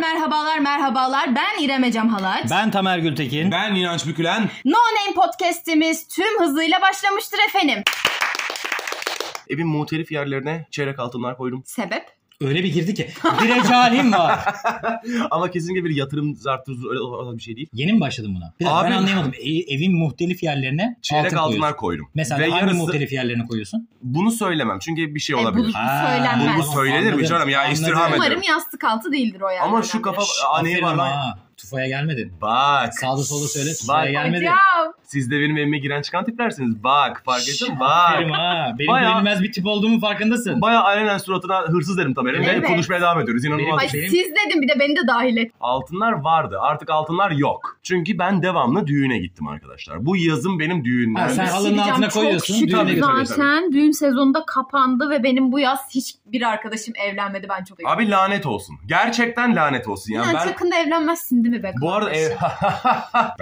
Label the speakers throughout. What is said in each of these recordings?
Speaker 1: Merhabalar merhabalar ben İrem Ecem Halaç.
Speaker 2: Ben Tamer Gültekin.
Speaker 3: Ben İnanç Bükülen.
Speaker 1: No Name Podcast'imiz tüm hızıyla başlamıştır efendim.
Speaker 4: Evin muhtelif yerlerine çeyrek altınlar koydum.
Speaker 1: Sebep?
Speaker 2: Öyle bir girdi ki. Direcalim var.
Speaker 4: Ama kesinlikle bir yatırım zarttırıcı öyle olan bir şey değil.
Speaker 2: Yeni mi başladın buna? Bir dakika, ben
Speaker 4: Abi-
Speaker 2: anlamadım. E- evin muhtelif yerlerine
Speaker 4: Çeyrek
Speaker 2: altın koyuyorsun.
Speaker 4: altınlar koydum.
Speaker 2: Mesela
Speaker 4: Ve
Speaker 2: hangi
Speaker 4: yarısı-
Speaker 2: muhtelif yerlerine koyuyorsun?
Speaker 4: Bunu söylemem çünkü bir şey
Speaker 1: E, bu-
Speaker 4: olabilir.
Speaker 2: Ha,
Speaker 1: söylenmez.
Speaker 4: Bu söylenir mi
Speaker 2: Anladım,
Speaker 4: canım? Ya
Speaker 2: anladım.
Speaker 4: istirham ederim.
Speaker 1: Umarım yastık altı değildir o yani.
Speaker 4: Ama şu kafa Aa, neye
Speaker 2: Aferin
Speaker 4: var lan?
Speaker 2: ha. Tufaya gelmedin.
Speaker 4: Bak.
Speaker 2: Sağda solda söyle.
Speaker 4: Bak.
Speaker 2: Tufaya gelmedin.
Speaker 1: Hocam.
Speaker 4: Siz de benim evime giren çıkan tiplersiniz. Bak fark ettin bak.
Speaker 2: Aferin ha. Benim
Speaker 4: Bayağı-
Speaker 2: güvenilmez bir tip olduğumu farkındasın.
Speaker 4: Baya alenen suratına hırsız derim tabii. Ve
Speaker 1: Evet.
Speaker 4: konuşmaya devam ediyoruz. İnanılmaz. şey.
Speaker 1: Ay,
Speaker 2: Benim-
Speaker 1: siz dedim bir de beni de dahil et.
Speaker 4: Altınlar vardı. Artık altınlar yok. Çünkü ben devamlı düğüne gittim arkadaşlar. Bu yazın benim düğünler.
Speaker 2: Ha,
Speaker 1: Bir
Speaker 2: sen
Speaker 1: şey
Speaker 2: halının
Speaker 1: diyeceğim,
Speaker 2: altına
Speaker 1: çok
Speaker 2: koyuyorsun,
Speaker 1: şükür
Speaker 2: düğüne
Speaker 4: götürüyorsun.
Speaker 1: zaten düğün sezonunda kapandı ve benim bu yaz hiçbir arkadaşım evlenmedi ben çok
Speaker 4: Abi lanet olsun. Gerçekten lanet olsun.
Speaker 1: yani
Speaker 4: Yani ben
Speaker 1: yakında evlenmezsin değil mi be?
Speaker 4: bu arada
Speaker 1: kardeşim?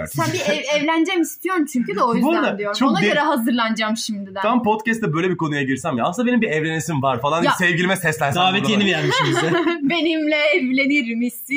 Speaker 4: ev...
Speaker 1: Sen bir ev, evleneceğim istiyorsun çünkü de o
Speaker 4: Bu
Speaker 1: yüzden
Speaker 4: arada
Speaker 1: diyorum.
Speaker 4: çok
Speaker 1: Ona
Speaker 4: de-
Speaker 1: göre hazırlanacağım şimdiden.
Speaker 4: Tam podcast'te böyle bir konuya girsem ya. Aslında benim bir evlenesim var falan.
Speaker 1: Ya.
Speaker 4: Sevgilime seslensem.
Speaker 2: Davetiyeni
Speaker 4: burada.
Speaker 2: vermişim bize.
Speaker 1: Benimle evlenir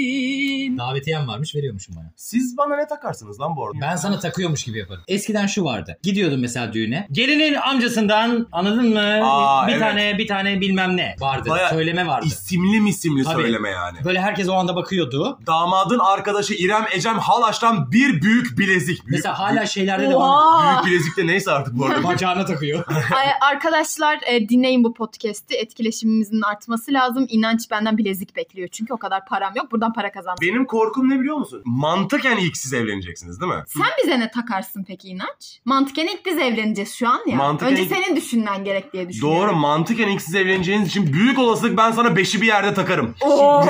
Speaker 1: misin?
Speaker 2: Davetiyem varmış veriyormuşum bana.
Speaker 4: Siz bana ne takarsınız lan bu arada?
Speaker 2: Ben sana takıyormuş gibi yaparım. Eskiden şu vardı. Gidiyordum mesela düğüne. Gelinin amcasından anladın mı?
Speaker 4: Aa,
Speaker 2: bir
Speaker 4: evet.
Speaker 2: tane bir tane bilmem ne vardı.
Speaker 4: Bayağı
Speaker 2: Söyleme vardı.
Speaker 4: İsimli mi isimli
Speaker 2: Tabii.
Speaker 4: söyleme yani.
Speaker 2: Böyle herkes o anda bakıyordu.
Speaker 4: Damadın arkadaşı İrem Ecem Halaç'tan bir büyük bilezik. Büyük,
Speaker 2: Mesela hala şeylerde de var.
Speaker 1: Oha!
Speaker 4: büyük bilezik de neyse artık bu arada.
Speaker 2: Bacağına takıyor.
Speaker 1: Ay- Arkadaşlar e, dinleyin bu podcast'i. Etkileşimimizin artması lazım. İnanç benden bilezik bekliyor. Çünkü o kadar param yok. Buradan para kazandım.
Speaker 4: Benim korkum ne biliyor musun? Mantıken ilk siz evleneceksiniz değil mi?
Speaker 1: Sen bize ne takarsın peki İnanç? Mantıken ilk biz evleneceğiz şu an ya.
Speaker 4: Mantıken
Speaker 1: Önce
Speaker 4: ilk-
Speaker 1: senin düşünmen gerek diye düşünüyorum.
Speaker 4: Doğru mantıken ilk siz evleneceğiniz için büyük olasılık ben sana beşi bir yerde takarım.
Speaker 1: Oo!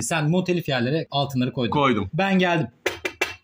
Speaker 2: Sen muhtelif yerlere altınları koydun.
Speaker 4: Koydum.
Speaker 2: ben geldim.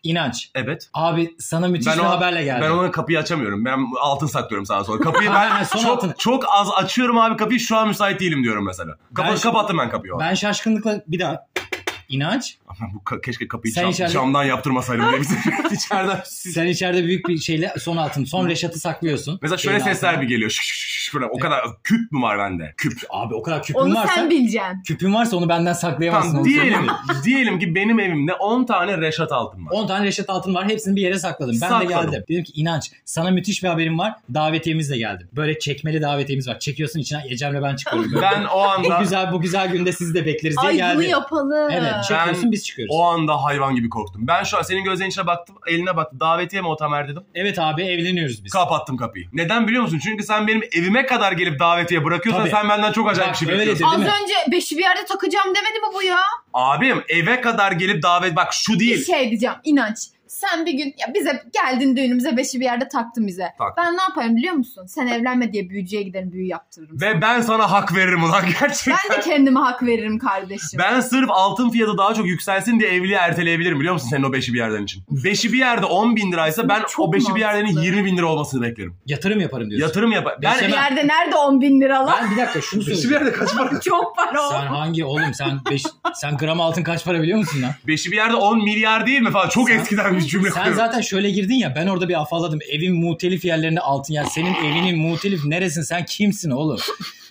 Speaker 2: İnanç.
Speaker 4: Evet.
Speaker 2: Abi sana müthiş bir
Speaker 4: o-
Speaker 2: haberle geldim.
Speaker 4: Ben ona kapıyı açamıyorum. Ben altın saklıyorum sağa sola. Kapıyı
Speaker 2: Aynen,
Speaker 4: ben
Speaker 2: son
Speaker 4: çok,
Speaker 2: altını.
Speaker 4: çok az açıyorum abi kapıyı. Şu an müsait değilim diyorum mesela. Kapa-
Speaker 2: Ben-
Speaker 4: kapattım ben kapıyı. o an.
Speaker 2: Ben şaşkınlıkla bir daha İnanç
Speaker 4: Aman bu ka- keşke kapıyı
Speaker 2: Sen
Speaker 4: cam-
Speaker 2: içeride-
Speaker 4: camdan yaptırmasaydım diye bize. İçeriden.
Speaker 2: sen içeride büyük bir şeyle son altın son reşatı saklıyorsun.
Speaker 4: Mesela şöyle
Speaker 2: Şeyin
Speaker 4: sesler
Speaker 2: altına.
Speaker 4: bir geliyor. Şş, şş, şş, böyle. O kadar küp mü var bende? Küp.
Speaker 2: Abi o kadar küpün
Speaker 1: Onu
Speaker 2: varsa
Speaker 1: sen bileceksin.
Speaker 2: küpün varsa onu benden saklayamazsın.
Speaker 4: Tamam,
Speaker 2: onu
Speaker 4: diyelim,
Speaker 2: söyleyeyim.
Speaker 4: diyelim ki benim evimde 10 tane reşat altın var.
Speaker 2: 10 tane reşat altın var. Hepsini bir yere sakladım. Ben
Speaker 4: Sakladım.
Speaker 2: de geldim. Dedim ki İnanç sana müthiş bir haberim var. Davetiyemizle geldim. Böyle çekmeli davetiyemiz var. Çekiyorsun içine Ecem'le ben çıkıyorum. Böyle.
Speaker 4: Ben o
Speaker 2: bu
Speaker 4: anda
Speaker 2: güzel bu güzel günde sizi de bekleriz diye
Speaker 1: Ay bunu
Speaker 2: geldim.
Speaker 1: yapalım.
Speaker 2: Evet çekiyorsun
Speaker 4: Ben-
Speaker 2: biz çıkıyoruz.
Speaker 4: o anda hayvan gibi korktum. Ben şu an senin gözlerin içine baktım, eline baktım. Davetiye mi o Tamer dedim.
Speaker 2: Evet abi evleniyoruz biz.
Speaker 4: Kapattım kapıyı. Neden biliyor musun? Çünkü sen benim evime kadar gelip davetiye bırakıyorsan
Speaker 2: Tabii.
Speaker 4: sen benden çok acayip
Speaker 2: Bak,
Speaker 4: bir şey
Speaker 2: öyle
Speaker 4: bekliyorsun.
Speaker 2: Değil
Speaker 1: Az
Speaker 2: mi?
Speaker 1: önce beşi bir yerde takacağım demedi mi bu ya?
Speaker 4: Abim eve kadar gelip davet bak şu
Speaker 1: Bir
Speaker 4: değil.
Speaker 1: şey diyeceğim İnanç. Sen bir gün ya bize geldin düğünümüze beşi bir yerde taktın bize.
Speaker 4: Tak.
Speaker 1: Ben ne yaparım biliyor musun? Sen evlenme diye büyücüye giderim büyü yaptırırım.
Speaker 4: Ve ben sana hak veririm ulan gerçekten.
Speaker 1: Ben de kendime hak veririm kardeşim.
Speaker 4: Ben sırf altın fiyatı daha çok yükselsin diye evliliği erteleyebilirim biliyor musun senin o beşi bir yerden için. Beşi bir yerde 10 bin liraysa ben
Speaker 1: Çok
Speaker 4: o beşi bir yerdenin
Speaker 1: mantıklı.
Speaker 4: 20 bin lira olmasını beklerim.
Speaker 2: Yatırım yaparım diyorsun.
Speaker 4: Yatırım yapar. Ben
Speaker 1: Bir
Speaker 2: Beşe-
Speaker 1: yerde nerede 10 bin lira lan?
Speaker 2: Ben bir dakika şunu
Speaker 4: beşi bir
Speaker 2: söyleyeyim.
Speaker 4: yerde kaç para?
Speaker 1: Çok
Speaker 4: şey
Speaker 1: para o.
Speaker 2: Sen hangi oğlum sen beş, sen gram altın kaç para biliyor musun lan?
Speaker 4: Beşi bir yerde 10 milyar değil mi falan. Çok
Speaker 2: Sen-
Speaker 4: eskiden bir cümle
Speaker 2: Sen
Speaker 4: kuruyorum.
Speaker 2: zaten şöyle girdin ya ben orada bir afalladım. Evin muhtelif yerlerine altın ya senin evinin muhtelif neresin sen kimsin oğlum?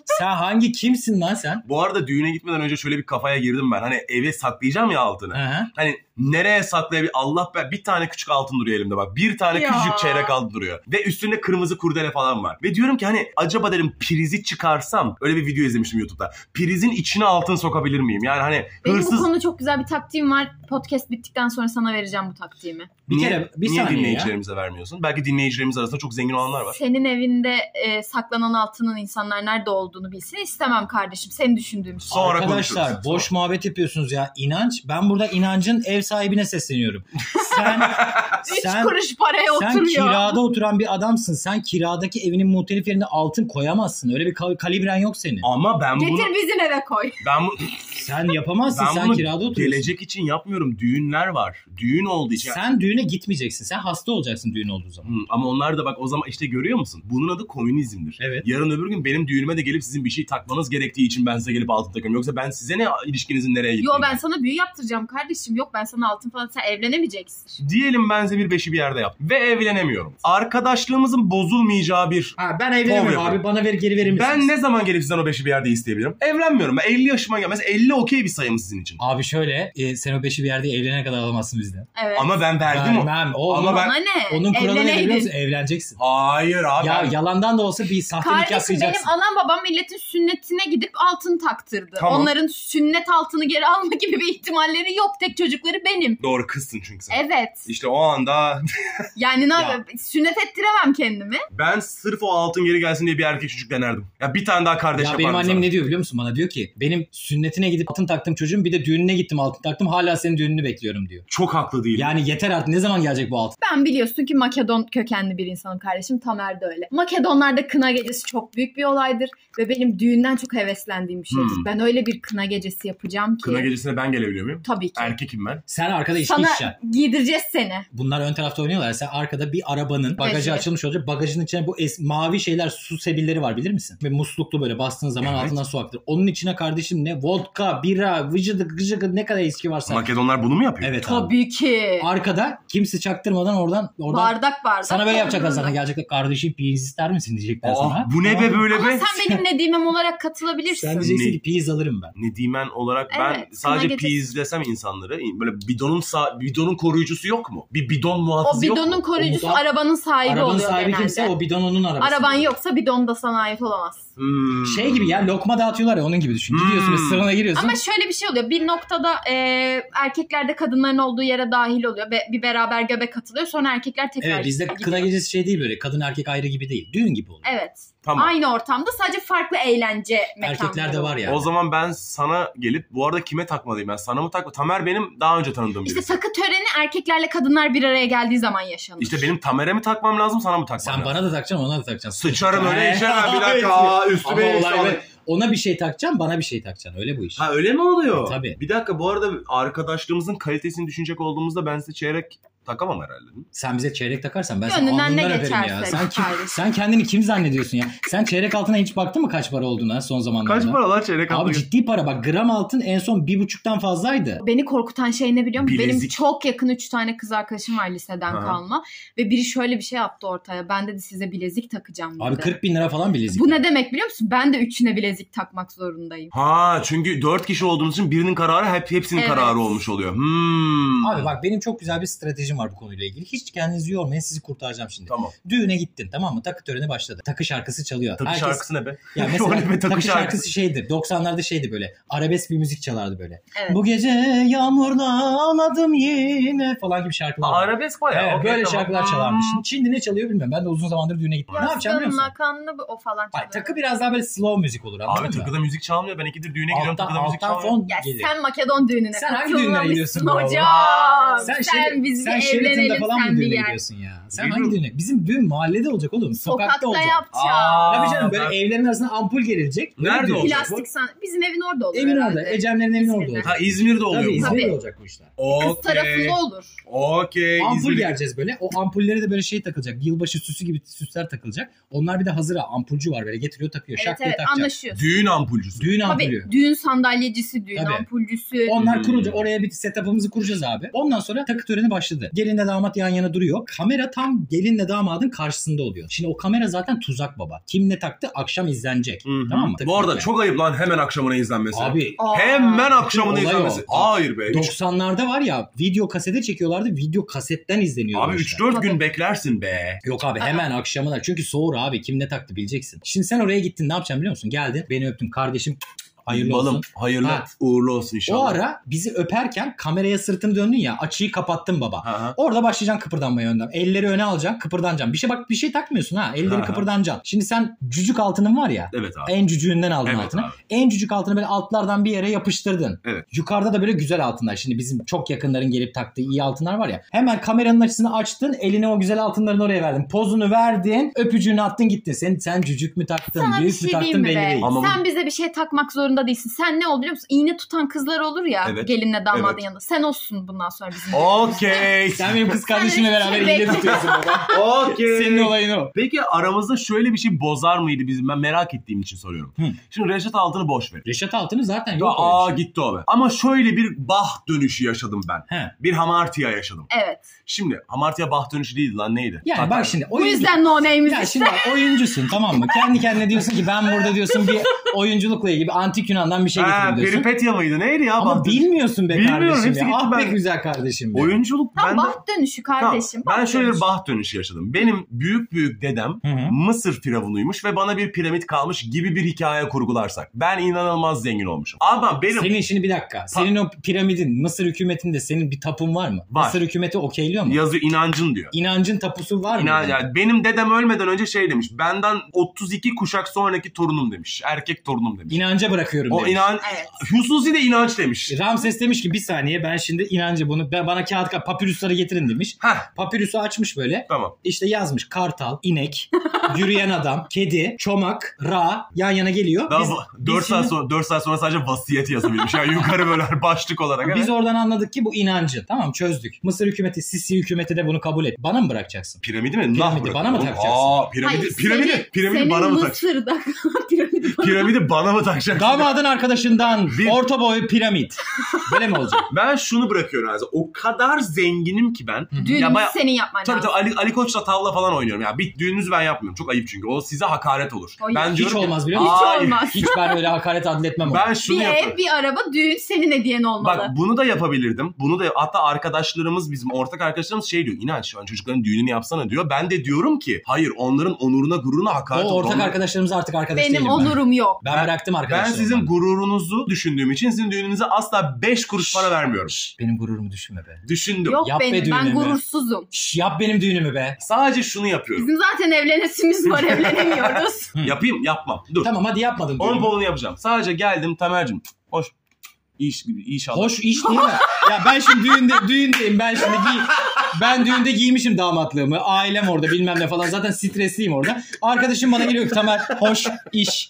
Speaker 2: Sen hangi kimsin lan sen?
Speaker 4: Bu arada düğüne gitmeden önce şöyle bir kafaya girdim ben. Hani eve saklayacağım ya altını.
Speaker 2: Hı hı.
Speaker 4: Hani nereye saklayabilir? Allah be bir tane küçük altın duruyor elimde bak. Bir tane
Speaker 1: Ya.
Speaker 4: küçücük çeyrek altın duruyor. Ve üstünde kırmızı kurdele falan var. Ve diyorum ki hani acaba dedim prizi çıkarsam öyle bir video izlemiştim YouTube'da. Prizin içine altın sokabilir miyim? Yani hani
Speaker 1: Benim
Speaker 4: hırsız
Speaker 1: bu konuda çok güzel bir taktiğim var. Podcast bittikten sonra sana vereceğim bu taktiğimi.
Speaker 2: Bir
Speaker 4: niye,
Speaker 2: kere bir
Speaker 4: niye
Speaker 2: saniye ya.
Speaker 4: dinleyicilerimize vermiyorsun? Belki dinleyicilerimiz arasında çok zengin olanlar var.
Speaker 1: Senin evinde e, saklanan altının insanlar nerede olduğunu bilsin istemem kardeşim. Seni düşündüğüm şey.
Speaker 4: Sonra
Speaker 2: Arkadaşlar
Speaker 4: konuşuruz.
Speaker 2: boş muhabbet yapıyorsunuz ya. İnanç ben burada inancın ev sahibine sesleniyorum. Sen
Speaker 1: Üç
Speaker 2: sen
Speaker 1: kuruş paraya
Speaker 2: sen
Speaker 1: oturuyor.
Speaker 2: kirada oturan bir adamsın. Sen kiradaki evinin muhtelif yerine altın koyamazsın. Öyle bir kal- kalibren yok senin.
Speaker 4: Ama ben bunu
Speaker 1: Getir bizim eve koy.
Speaker 4: ben, bu-
Speaker 2: Sen yapamazsın.
Speaker 4: ben
Speaker 2: sen
Speaker 4: bunu
Speaker 2: kirada oturuyorsun.
Speaker 4: gelecek için yapmıyorum. Düğünler var. Düğün olduğu için.
Speaker 2: Sen düğüne gitmeyeceksin. Sen hasta olacaksın
Speaker 4: Hmm,
Speaker 2: düğün olduğu zaman.
Speaker 4: Hı, ama onlar da bak o zaman işte görüyor musun? Bunun adı komünizmdir.
Speaker 2: Evet.
Speaker 4: Yarın öbür gün benim düğünüme de gelip sizin bir şey takmanız gerektiği için ben size gelip altın takıyorum. Yoksa ben size ne ilişkinizin nereye gittiğini.
Speaker 1: Yo ben sana büyü yaptıracağım kardeşim. Yok ben sana altın falan sen evlenemeyeceksin.
Speaker 4: Diyelim ben size bir beşi bir yerde yaptım ve evlenemiyorum. Arkadaşlığımızın bozulmayacağı bir
Speaker 2: Ha, ben evlenemem
Speaker 4: Kov
Speaker 2: abi
Speaker 4: yapıyor.
Speaker 2: bana ver geri verir misiniz?
Speaker 4: ben ne zaman gelip sizden o beşi bir yerde isteyebilirim? Evlenmiyorum. Ben 50 yaşıma gel. Mesela 50 okey bir sayım sizin için.
Speaker 2: Abi şöyle e, sen o beşi bir yerde evlenene kadar alamazsın bizden.
Speaker 1: Evet.
Speaker 4: Ama ben verdim o.
Speaker 2: Vermem. O,
Speaker 4: Ama
Speaker 2: ama
Speaker 4: ben-
Speaker 1: Ona ne?
Speaker 2: Onun kuralı ne biliyor
Speaker 1: Evleneydin.
Speaker 2: musun? Evleneceksin.
Speaker 4: Hayır abi.
Speaker 2: Ya
Speaker 4: ben-
Speaker 2: yalandan da olsa bir sahte nikah
Speaker 1: Kardeşim benim
Speaker 2: kıyacaksın.
Speaker 1: anam babam milletin sünnetine gidip altın taktırdı.
Speaker 4: Tamam.
Speaker 1: Onların sünnet altını geri alma gibi bir ihtimalleri yok. Tek çocukları benim.
Speaker 4: Doğru kızsın çünkü sen.
Speaker 1: Evet.
Speaker 4: İşte o anda
Speaker 1: Yani ne
Speaker 2: Ya.
Speaker 1: yapayım? Sünnet ettiremem kendimi.
Speaker 4: ben sırf o altın geri gelsin diye bir erkek çocuk denerdim. Ya bir tane daha kardeş
Speaker 2: Ya
Speaker 4: yapardım
Speaker 2: benim annem
Speaker 4: sana.
Speaker 2: ne diyor biliyor musun bana? Diyor ki benim sünnetine gidip altın taktım çocuğum bir de düğününe gittim altın taktım hala senin düğününü bekliyorum diyor.
Speaker 4: Çok haklı değil.
Speaker 2: Yani yeter artık ne zaman gelecek bu altın?
Speaker 1: Ben biliyorsun ki Makedon kökenli bir insanım kardeşim. Tamer de öyle. Makedonlarda kına gecesi çok büyük bir olaydır. Ve benim düğünden çok heveslendiğim bir şeydir.
Speaker 4: Hmm.
Speaker 1: Ben öyle bir kına gecesi yapacağım ki.
Speaker 4: Kına gecesine ben gelebiliyor muyum?
Speaker 1: Tabii ki.
Speaker 4: Erkekim ben.
Speaker 2: Sen arkada içki
Speaker 1: Sana
Speaker 2: içeceksin.
Speaker 1: giydireceğiz seni.
Speaker 2: Bunlar ön tarafta oynuyorlar. Sen arkada bir arabanın bagajı
Speaker 1: Bagajı.
Speaker 2: açılmış olacak. Bagajın içine bu es- mavi şeyler su sebilleri var bilir misin? Ve musluklu böyle bastığın zaman
Speaker 4: Evet.
Speaker 2: altından su aktır. Onun içine kardeşim ne? Vodka, bira, vıcıdı, gıcıdı ne kadar eski varsa.
Speaker 4: Makedonlar bunu mu yapıyor?
Speaker 2: evet abi.
Speaker 1: Tabii ki.
Speaker 2: Arkada kimse çaktırmadan oradan oradan
Speaker 1: bardak bardak.
Speaker 2: sana böyle yapacaklar
Speaker 1: doldururlar.
Speaker 2: sana. Gelecekler kardeşim piyiz ister misin diyecekler
Speaker 4: Aa,
Speaker 2: sana.
Speaker 4: bu ne be böyle
Speaker 1: Ama
Speaker 4: be?
Speaker 1: sen benim Nedimem olarak katılabilirsin.
Speaker 2: Sen diyeceksin
Speaker 4: Ne?
Speaker 2: ki piyiz alırım ben.
Speaker 4: Nedimen olarak
Speaker 1: Evet,
Speaker 4: ben
Speaker 1: kına
Speaker 4: sadece
Speaker 1: gecesi.
Speaker 4: piyiz desem insanları böyle bidonun sağ, bidonun koruyucusu yok mu? Bir bidon
Speaker 1: O
Speaker 4: muhafızı yok
Speaker 1: bidonun
Speaker 4: mu?
Speaker 1: koruyucusu
Speaker 2: O muda-
Speaker 1: arabanın sahibi
Speaker 2: Arabanın
Speaker 1: oluyor
Speaker 2: sahibi
Speaker 1: genelde.
Speaker 2: kimse o bidon onun arabası.
Speaker 1: Araban yoksa bidon da sana ait olamaz.
Speaker 4: Hmm.
Speaker 2: Şey gibi ya lokma dağıtıyorlar ya onun gibi düşün. Gidiyorsun
Speaker 4: Hmm.
Speaker 2: ve sırana giriyorsun.
Speaker 1: Ama şöyle bir şey oluyor. Bir noktada e, erkekler de kadınların olduğu yere dahil oluyor. Ve bir beraber göbek katılıyor. Sonra erkekler tekrar
Speaker 2: Evet bizde
Speaker 1: gidiyor.
Speaker 2: kına gecesi şey değil böyle kadın erkek ayrı gibi değil. Düğün gibi oluyor.
Speaker 1: Evet.
Speaker 4: Tamam.
Speaker 1: Aynı ortamda sadece farklı eğlence mekanları.
Speaker 2: Erkekler de var ya.
Speaker 4: O zaman ben sana gelip bu arada kime takmalıyım ben? Sana mı takma? Tamer benim daha önce tanıdığım birisi.
Speaker 1: İşte
Speaker 4: İşte,
Speaker 1: takı töreni erkeklerle kadınlar bir araya geldiği zaman yaşanır.
Speaker 4: benim Tamer'e mi takmam lazım sana mı takmam
Speaker 2: Sen
Speaker 4: lazım?
Speaker 2: bana da takacaksın ona da takacaksın.
Speaker 4: Sıçarım öyle
Speaker 2: Ee,
Speaker 4: işe ha, bir dakika.
Speaker 2: hayır.
Speaker 4: Aa,
Speaker 2: Ama
Speaker 4: üstüme eksi
Speaker 2: olay
Speaker 4: alın.
Speaker 2: böyle, ona bir şey takacaksın bana bir şey takacaksın öyle bu iş.
Speaker 4: Ha öyle mi oluyor?
Speaker 2: E, Tabii.
Speaker 4: Bir dakika bu arada arkadaşlığımızın kalitesini düşünecek olduğumuzda ben size çeyrek takamam herhalde.
Speaker 2: Sen bize çeyrek takarsan ben
Speaker 1: Gönlünden
Speaker 2: senin alnından
Speaker 1: ne
Speaker 2: öperim ya.
Speaker 1: geçerse
Speaker 2: Sen, kim,
Speaker 1: kardeşim.
Speaker 2: sen kendini kim zannediyorsun ya? Sen çeyrek altına hiç baktın mı kaç para olduğuna son zamanlarda?
Speaker 4: Kaç para lan çeyrek
Speaker 2: Abi
Speaker 4: altın?
Speaker 2: ciddi para bak gram altın en son bir buçuktan fazlaydı.
Speaker 1: Beni korkutan şey ne biliyor musun? Benim
Speaker 4: Bilezik.
Speaker 1: çok yakın üç tane kız arkadaşım var liseden
Speaker 4: Ha.
Speaker 1: kalma. Ve biri şöyle bir şey yaptı ortaya. Ben dedi size bilezik takacağım dedi.
Speaker 2: Abi 40 bin lira falan bilezik.
Speaker 1: Bu ne demek biliyor musun? Ben de üçüne bilezik takmak zorundayım.
Speaker 4: Ha çünkü dört kişi olduğumuz için birinin kararı hep hepsinin
Speaker 1: Evet.
Speaker 4: kararı olmuş oluyor. Hmm.
Speaker 2: Abi bak benim çok güzel bir stratejim var bu konuyla ilgili. Hiç kendinizi yormayın sizi kurtaracağım şimdi.
Speaker 4: Tamam.
Speaker 2: Düğüne gittin tamam mı? Takı töreni başladı. Takı şarkısı çalıyor.
Speaker 4: Takı
Speaker 2: Herkes-
Speaker 4: şarkısı ne be?
Speaker 2: Ya
Speaker 4: O
Speaker 2: mesela
Speaker 4: ne be
Speaker 2: takı,
Speaker 4: takı
Speaker 2: şarkısı
Speaker 4: şarkısı?
Speaker 2: şeydi. 90'larda şeydi böyle. Arabesk bir müzik çalardı böyle.
Speaker 1: Evet.
Speaker 2: Bu gece yağmurda ağladım yine falan gibi şarkılar.
Speaker 4: Aa,
Speaker 2: vardı.
Speaker 4: Arabesk bayağı.
Speaker 2: Evet,
Speaker 4: Okey,
Speaker 2: böyle
Speaker 4: tamam. Hmm.
Speaker 2: şarkılar çalardı. Şimdi, şimdi ne çalıyor bilmiyorum. Ben de uzun zamandır düğüne gittim. ne yapacağım biliyor musun?
Speaker 1: kanlı o falan.
Speaker 2: Hayır, takı biraz daha böyle slow müzik olur anladın
Speaker 4: Abi
Speaker 2: mı?
Speaker 4: takıda müzik çalmıyor. Ben ikidir düğüne gidiyorum
Speaker 2: alttan,
Speaker 4: takıda müzik
Speaker 2: alttan
Speaker 4: çalmıyor.
Speaker 2: fon
Speaker 1: ya
Speaker 2: gelir.
Speaker 1: sen Makedon düğününe
Speaker 2: Sen hangi
Speaker 1: katılmamışsın
Speaker 2: düğüne gidiyorsun bu arada?
Speaker 1: hocam. Sen,
Speaker 2: Sen, şerit-
Speaker 1: biz
Speaker 2: sen
Speaker 1: bir
Speaker 2: şeritinde
Speaker 1: evlenelim
Speaker 2: falan
Speaker 1: sen
Speaker 2: mı
Speaker 1: bir
Speaker 2: düğüne
Speaker 1: yer.
Speaker 2: gidiyorsun ya? Sen
Speaker 4: Bilmiyorum.
Speaker 2: hangi düğüne? Bizim düğün mahallede olacak oğlum. Sokakta,
Speaker 1: Sokakta
Speaker 2: olacak.
Speaker 1: yapacağım.
Speaker 2: Tabii canım şey böyle e- evlerin arasında ampul gerilecek. Böyle
Speaker 4: Nerede
Speaker 2: düğün
Speaker 4: olacak
Speaker 2: olacak.
Speaker 1: Plastik san... Bizim evin orada olur
Speaker 2: Evin
Speaker 1: herhalde.
Speaker 2: orada. Ecemlerin evin orada
Speaker 1: İzmir'de.
Speaker 2: olacak.
Speaker 4: Ha İzmir'de oluyor
Speaker 2: Tabii
Speaker 4: bu.
Speaker 1: İzmir-
Speaker 2: İzmir'de
Speaker 1: Tabii.
Speaker 2: olacak bu işler.
Speaker 1: Kız tarafında olur.
Speaker 4: Okey.
Speaker 2: Ampul
Speaker 4: İzmir'de-
Speaker 2: gereceğiz böyle. O ampullere de böyle şey takılacak. Yılbaşı süsü gibi süsler takılacak. Onlar bir de hazır ha, ampulcü var böyle getiriyor takıyor.
Speaker 1: Evet
Speaker 2: Şak diye
Speaker 1: evet
Speaker 2: takacak.
Speaker 1: anlaşıyoruz.
Speaker 4: Düğün ampulcüsü.
Speaker 2: Düğün ampulü.
Speaker 1: Tabii düğün sandalyecisi, düğün
Speaker 2: Tabii.
Speaker 1: ampulcüsü.
Speaker 2: Onlar
Speaker 4: Hmm.
Speaker 2: kurulacak. Oraya bir setup'ımızı kuracağız abi. Ondan sonra takı töreni başladı. Gelinle damat yan yana duruyor. Kamera tam gelinle damadın karşısında oluyor. Şimdi o kamera zaten tuzak baba. Kim ne taktı akşam izlenecek.
Speaker 4: Hı hı.
Speaker 2: Tamam mı?
Speaker 4: Bu arada
Speaker 2: Takı
Speaker 4: çok ayıp lan hemen akşamına izlenmesi.
Speaker 2: töreni. Abi
Speaker 1: Aa.
Speaker 4: Hemen akşamına
Speaker 2: Olay
Speaker 4: izlenmesi.
Speaker 2: o.
Speaker 4: Hayır be. Üç-
Speaker 2: 90'larda var ya video kasete çekiyorlardı. Video kasetten izleniyor.
Speaker 4: Abi
Speaker 2: bu işler.
Speaker 4: 3-4
Speaker 1: Tabii.
Speaker 4: gün beklersin be.
Speaker 2: Yok abi hemen akşamına. Çünkü soğur abi. Kim ne taktı bileceksin. Şimdi sen oraya gittin ne yapacaksın biliyor musun? Geldin beni öptün kardeşim. Hayırlı
Speaker 4: Balım,
Speaker 2: olsun.
Speaker 4: Hayırlı
Speaker 2: Ha.
Speaker 4: uğurlu olsun
Speaker 2: O
Speaker 4: inşallah.
Speaker 2: ara bizi öperken kameraya sırtını döndün ya açıyı kapattın baba.
Speaker 4: Ha, ha.
Speaker 2: Orada başlayacaksın kıpırdanmaya önden. Elleri öne alacaksın kıpırdanacaksın. Bir şey bak bir şey takmıyorsun ha. Elleri
Speaker 4: Aha.
Speaker 2: kıpırdanacaksın. Şimdi sen cücük altının var ya.
Speaker 4: Evet abi.
Speaker 2: En cücüğünden aldın
Speaker 4: Evet
Speaker 2: altını.
Speaker 4: abi.
Speaker 2: En cücük altını böyle altlardan bir yere yapıştırdın.
Speaker 4: Evet.
Speaker 2: Yukarıda da böyle güzel altınlar. Şimdi bizim çok yakınların gelip taktığı iyi altınlar var ya. Hemen kameranın açısını açtın. Eline o güzel altınlarını oraya verdin. Pozunu verdin. Öpücüğünü attın gittin. Sen, sen cücük mü taktın?
Speaker 1: Sana bir
Speaker 2: büyük mü
Speaker 1: şey
Speaker 2: taktın
Speaker 1: diyeyim mi
Speaker 2: belli
Speaker 1: be?
Speaker 2: değil.
Speaker 4: Ama bu-
Speaker 1: Sen bize bir şey takmak zorunda değilsin. Sen ne ol biliyor musun? İğne tutan kızlar olur ya
Speaker 4: Evet.
Speaker 1: gelinle damadın
Speaker 4: Evet.
Speaker 1: yanında. Sen olsun bundan sonra bizim.
Speaker 4: Okey.
Speaker 2: E- Sen benim kız kardeşimle
Speaker 1: şey
Speaker 2: beraber ilgili tutuyorsun baba.
Speaker 4: Okey.
Speaker 2: Senin olayın o.
Speaker 4: Peki aramızda şöyle bir şey bozar mıydı bizim? Ben merak ettiğim için soruyorum.
Speaker 2: Hı.
Speaker 4: Şimdi Reşat Altın'ı boş ver.
Speaker 2: Reşat Altın'ı zaten
Speaker 4: Ya,
Speaker 2: yok.
Speaker 4: aa gitti o be. Ama şöyle bir bah dönüşü yaşadım ben.
Speaker 2: şey. He.
Speaker 4: Bir hamartia yaşadım.
Speaker 1: Evet.
Speaker 4: Şimdi hamartia bah dönüşü değildi lan neydi?
Speaker 2: Yani
Speaker 4: Tatar.
Speaker 2: bak şimdi
Speaker 1: Bu
Speaker 2: oyuncu.
Speaker 1: yüzden no name'iz
Speaker 2: Ya
Speaker 1: işte.
Speaker 2: şimdi bak, oyuncusun tamam mı? Kendi kendine diyorsun ki ben burada diyorsun bir oyunculukla ilgili bir antik Yunan'dan bir şey
Speaker 4: Ha,
Speaker 2: getirdim diyorsun.
Speaker 4: peripetya mıydı? Neydi ya?
Speaker 2: Ama
Speaker 4: bah dönüşü?
Speaker 2: bilmiyorsun be
Speaker 4: Bilmiyorum,
Speaker 2: kardeşim
Speaker 4: hepsi
Speaker 2: ya.
Speaker 4: gitti
Speaker 2: Ah be
Speaker 4: ben-
Speaker 2: güzel kardeşim. be.
Speaker 4: Oyunculuk
Speaker 1: Tam
Speaker 4: ben de...
Speaker 1: baht dönüşü kardeşim.
Speaker 4: Tamam, Ben
Speaker 1: baht
Speaker 4: şöyle bir
Speaker 1: dönüşü.
Speaker 4: bah dönüşü yaşadım. Benim büyük büyük dedem
Speaker 2: Hı hı.
Speaker 4: Mısır firavunuymuş ve bana bir piramit kalmış gibi bir hikaye kurgularsak. Ben inanılmaz zengin olmuşum. Ama benim
Speaker 2: Senin şimdi bir dakika. Senin o piramidin Mısır hükümetinde senin bir tapun var mı?
Speaker 4: Var.
Speaker 2: Mısır hükümeti okeyliyor mu?
Speaker 4: yazı inancın diyor.
Speaker 2: İnancın tapusu var mı?
Speaker 4: İnan, yani benim dedem ölmeden önce şey demiş. Benden 32 kuşak sonraki torunum demiş. Erkek torunum demiş.
Speaker 2: İnanca bırakıyorum.
Speaker 4: o
Speaker 2: demiş.
Speaker 4: inan
Speaker 1: Evet.
Speaker 4: Hususi de inanç demiş.
Speaker 2: Ramses demiş ki bir saniye ben şimdi inancı bunu ben- bana kağıt ka- papirüsleri getirin demiş.
Speaker 4: Heh
Speaker 2: Papirüsü açmış böyle.
Speaker 4: tamam.
Speaker 2: İşte yazmış kartal, inek, yürüyen adam, kedi, çomak, ra yan yana geliyor.
Speaker 4: Daha
Speaker 2: Biz-
Speaker 4: bu-
Speaker 2: biz
Speaker 4: 4 saat
Speaker 2: şimdi-
Speaker 4: sonra 4 saat sonra sadece vasiyet yazabilmiş. Yani yukarı böyle başlık olarak.
Speaker 2: Biz
Speaker 4: Biz
Speaker 2: oradan anladık ki bu inancı. Tamam çözdük. Mısır hükümeti, Sisi hükümeti de bunu kabul et. Bana mı bırakacaksın?
Speaker 4: Piramidi mi? Nah
Speaker 2: Piramidi
Speaker 4: bırakın
Speaker 2: bana mı
Speaker 4: oğlum.
Speaker 2: takacaksın?
Speaker 4: Aa, piramidi,
Speaker 1: Hayır,
Speaker 4: piramidi,
Speaker 1: senin-
Speaker 4: piramidi
Speaker 1: senin
Speaker 4: şey bana mı takacaksın?
Speaker 1: Mısır'da piramidi bana
Speaker 4: Piramidi bana mı takacaksın?
Speaker 2: Damadın arkadaşından
Speaker 4: Bir-
Speaker 2: orta boy piramit. Böyle mi olacak?
Speaker 4: Ben şunu bırakıyorum Ayza. O kadar zenginim ki ben.
Speaker 1: Düğünümüzü
Speaker 4: Ya baya-
Speaker 1: senin yapman
Speaker 4: Tabii
Speaker 1: lazım.
Speaker 4: tabii Ali, Ali Koç'la tavla falan oynuyorum. Ya bir düğününüzü ben yapmıyorum. Çok ayıp çünkü. O size hakaret olur.
Speaker 1: Hayır.
Speaker 4: Ben
Speaker 2: Hiç
Speaker 4: diyorum ki-
Speaker 2: olmaz biliyor musun?
Speaker 1: Hiç
Speaker 4: Hayır.
Speaker 1: olmaz.
Speaker 2: Hiç ben öyle hakaret adletmem ona.
Speaker 4: Ben şunu
Speaker 1: bir
Speaker 4: yaparım.
Speaker 1: ev, bir araba, düğün senin hediyen olmalı.
Speaker 4: Bak bunu da yapabilirdim. Bunu da hatta arkadaşlarımız bizim ortak arkadaşlarımız şey diyor. İnanç şu an çocukların düğününü yapsana diyor. Ben de diyorum ki hayır onlarının onuruna gururuna hakaret
Speaker 2: o
Speaker 4: olur.
Speaker 2: ortak
Speaker 4: Onlar-
Speaker 2: arkadaşlarımız artık arkadaş
Speaker 1: Benim
Speaker 2: değilim
Speaker 1: onurum yok.
Speaker 2: ben. Ben, bıraktım
Speaker 4: Ben
Speaker 2: arkadaşlarımı.
Speaker 4: sizin gururunuzu düşündüğüm için sizin düğününüze asla 5 kuruş para vermiyorum.
Speaker 2: Şş, Benim gururumu düşünme be.
Speaker 4: Düşündüm.
Speaker 1: Yok
Speaker 2: Yap be
Speaker 1: benim, ben
Speaker 2: düğünümü.
Speaker 1: gurursuzum.
Speaker 2: Şş, yap benim düğünümü be.
Speaker 4: Sadece şunu yapıyorum.
Speaker 1: Bizim zaten evlenesimiz var, evlenemiyoruz.
Speaker 2: Hı.
Speaker 4: Yapayım yapmam. Dur.
Speaker 2: Tamam hadi yapmadım
Speaker 4: Onun
Speaker 2: düğünümü.
Speaker 4: bolunu yapacağım. Sadece geldim Tamer'cim. Hoş. İş gibi inşallah.
Speaker 2: Hoş iş değil mi? ya ben şimdi düğünde, düğündeyim ben şimdi giy ben düğünde giymişim damatlığımı. Ailem orada bilmem ne falan. Zaten stresliyim orada. Arkadaşım bana geliyor ki Tamer hoş iş.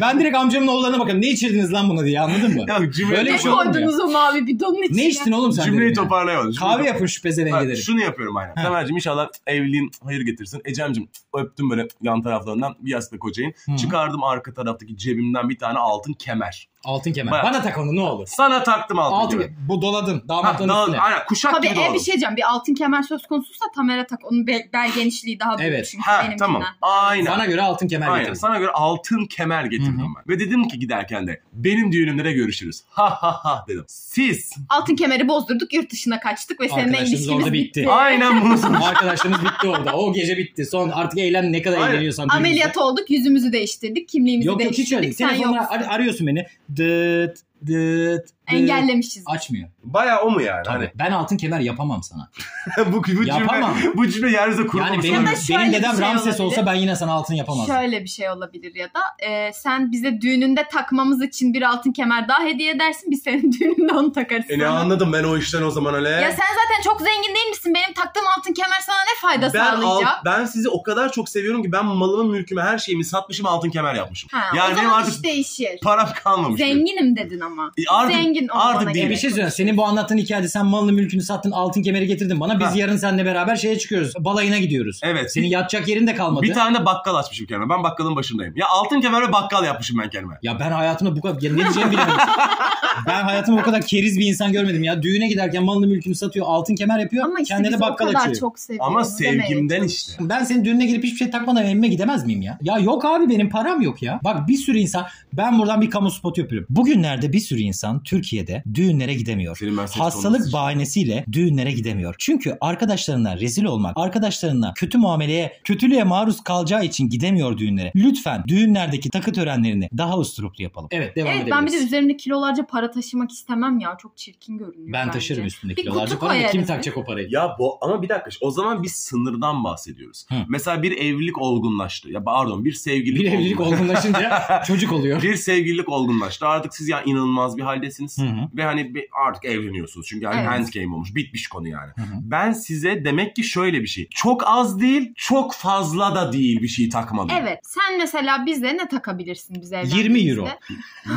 Speaker 2: ben direkt amcamın oğullarına bakıyorum. Ne içirdiniz lan bunu diye anladın mı?
Speaker 4: Ya cümle
Speaker 2: Böyle
Speaker 1: Ne
Speaker 2: bir şey olmuyor.
Speaker 1: koydunuz o mavi bidonun içine?
Speaker 2: ne içtin oğlum sen?
Speaker 4: Cümleyi
Speaker 2: dedim ya.
Speaker 4: toparlayamadım. Cümleyi
Speaker 2: Kahve
Speaker 4: toparlayamadım.
Speaker 2: yapın şu
Speaker 4: Ha,
Speaker 2: pezevenk derim.
Speaker 4: şunu yapıyorum aynen.
Speaker 2: Ha.
Speaker 4: Tamer'cim inşallah evliliğin hayır getirsin. Ecem'cim öptüm böyle yan taraflarından bir yastık kocayın.
Speaker 2: Hı.
Speaker 4: Çıkardım arka taraftaki cebimden bir tane altın kemer.
Speaker 2: Altın kemer.
Speaker 4: Bak.
Speaker 2: Bana tak onu ne olur.
Speaker 4: Sana taktım altın,
Speaker 2: Altın
Speaker 4: kemer.
Speaker 2: kemer. Bu doladın.
Speaker 4: Ha,
Speaker 2: Damatlığın
Speaker 4: daha-
Speaker 2: üstüne.
Speaker 4: aynen, kuşak
Speaker 1: Tabii
Speaker 4: gibi
Speaker 1: e, bir
Speaker 4: dolandım.
Speaker 1: şey diyeceğim. Bir altın kemer söz konusuysa Tamer'e tak. Onun bel, bel genişliği daha büyük
Speaker 2: Evet.
Speaker 1: çünkü
Speaker 4: Ha
Speaker 1: benimkinden.
Speaker 4: tamam. Aynen.
Speaker 2: Bana göre altın kemer
Speaker 4: Aynen.
Speaker 2: getirdim.
Speaker 4: Sana göre altın kemer getirdim
Speaker 2: Hı hı.
Speaker 4: ben. Ve dedim ki giderken de benim düğünümde de görüşürüz. Ha ha ha dedim. Siz
Speaker 1: Altın kemeri bozdurduk, yurt dışına kaçtık ve seninle
Speaker 2: Arkadaşımız
Speaker 1: ilişkimiz
Speaker 2: orada bitti.
Speaker 4: aynen bunu
Speaker 2: Arkadaşlarımız bitti orada. O gece bitti. Son artık eğlen ne kadar
Speaker 4: Aynen.
Speaker 2: eğleniyorsan. birbirimize-
Speaker 1: Ameliyat olduk, yüzümüzü değiştirdik, kimliğimizi
Speaker 2: Yok yok hiç
Speaker 1: değiştirdik.
Speaker 2: öyle. değil.
Speaker 1: Sen yok.
Speaker 2: Telefonla ar- arıyorsun beni. Dıt dıt dıt.
Speaker 1: Engellemişiz.
Speaker 2: Açmıyor.
Speaker 4: Baya o mu yani?
Speaker 2: Tabii. Ben altın kemer yapamam sana.
Speaker 4: Hani, bu, bu cümle,
Speaker 2: Yapamam.
Speaker 4: bu cümle yeryüzü
Speaker 2: Yani
Speaker 4: kurulmamış.
Speaker 2: benim,
Speaker 1: Ya da
Speaker 4: olabilir.
Speaker 1: şöyle
Speaker 2: benim
Speaker 1: bir
Speaker 2: dedem
Speaker 1: şey
Speaker 2: Ramses
Speaker 1: olabilir.
Speaker 2: olsa ben yine sana altın yapamazdım.
Speaker 1: Şöyle bir şey olabilir ya da e, sen bize düğününde takmamız için bir altın kemer daha hediye edersin biz senin düğününde onu takarız.
Speaker 4: E ne
Speaker 1: sana.
Speaker 4: anladım ben o işten o zaman öyle.
Speaker 1: Ya sen zaten çok zengin değil misin? Benim taktığım altın kemer sana ne fayda
Speaker 4: ben,
Speaker 1: sağlayacak?
Speaker 4: al- ben sizi o kadar çok seviyorum ki ben malımı mülkümü her şeyimi satmışım altın kemer yapmışım.
Speaker 1: Ha,
Speaker 4: yani
Speaker 1: o
Speaker 4: benim
Speaker 1: zaman
Speaker 4: artık
Speaker 1: iş değişir.
Speaker 4: param kalmamış. benim.
Speaker 1: Zenginim dedin ama.
Speaker 4: E, artık-
Speaker 1: Zengin olmana
Speaker 4: artık değil.
Speaker 2: Bir
Speaker 1: gerek
Speaker 2: şey söyleyeyim.
Speaker 1: yok.
Speaker 2: Senin bu anlattığın hikayede sen malını mülkünü sattın altın kemeri getirdin bana. Biz
Speaker 4: Ha.
Speaker 2: yarın seninle beraber şeye çıkıyoruz. Balayına gidiyoruz.
Speaker 4: Evet.
Speaker 2: Senin yatacak yerin de kalmadı.
Speaker 4: bir tane de bakkal açmışım kendime. Ben bakkalın başındayım. Ya altın kemer ve bakkal yapmışım ben kendime.
Speaker 2: Ya ben hayatımda bu kadar ya ne diyeceğimi bilmiyorum. ben hayatımda bu kadar keriz bir insan görmedim ya. Düğüne giderken malını mülkünü satıyor, altın kemer yapıyor,
Speaker 1: Ama işte
Speaker 2: kendine
Speaker 1: biz
Speaker 2: de
Speaker 1: o
Speaker 2: bakkal
Speaker 1: kadar
Speaker 2: açıyor.
Speaker 1: çok seviyoruz.
Speaker 4: Ama
Speaker 1: demeye
Speaker 4: sevgimden
Speaker 1: çalış.
Speaker 4: işte.
Speaker 2: Ben senin düğününe gelip hiçbir şey takmadan evime gidemez miyim ya? Ya yok abi benim param yok ya. Bak bir sürü insan ben buradan bir kamu spotu yapıyorum. Bugünlerde bir sürü insan Türkiye'de düğünlere gidemiyor.
Speaker 4: Senin Mercedes olması
Speaker 2: Hastalık
Speaker 4: için.
Speaker 2: bahanesiyle düğünlere gidemiyor. Çünkü arkadaşlarına rezil olmak, arkadaşlarına kötü muameleye, kötülüğe maruz kalacağı için gidemiyor düğünlere. Lütfen düğünlerdeki takı törenlerini daha usturuplu yapalım. Evet devam
Speaker 1: Evet ben bir de üzerimde kilolarca para taşımak istemem ya. Çok çirkin görünüyor.
Speaker 2: Ben
Speaker 1: bence.
Speaker 2: taşırım üstünde
Speaker 1: Bir
Speaker 2: kilolarca
Speaker 1: kutu
Speaker 2: para ama kim
Speaker 1: koyarız.
Speaker 2: takacak o parayı?
Speaker 4: Ya bu ama bir dakika o zaman biz sınırdan bahsediyoruz.
Speaker 2: Hı.
Speaker 4: Mesela bir evlilik olgunlaştı. Ya pardon bir sevgililik
Speaker 2: Bir evlilik
Speaker 4: olgunlaştı.
Speaker 2: olgunlaşınca çocuk oluyor.
Speaker 4: bir sevgililik olgunlaştı. Artık siz ya inanılmaz bir haldesiniz.
Speaker 2: Hı hı.
Speaker 4: Ve hani bir- artık evleniyorsunuz. Çünkü hani
Speaker 1: Evet.
Speaker 4: hand game olmuş. Bitmiş konu yani.
Speaker 2: Hı hı.
Speaker 4: Ben size demek ki şöyle bir şey. Çok az değil, çok fazla da değil bir şey takmalıyım.
Speaker 1: Evet. Sen mesela bize ne takabilirsin bize?
Speaker 2: 20 euro.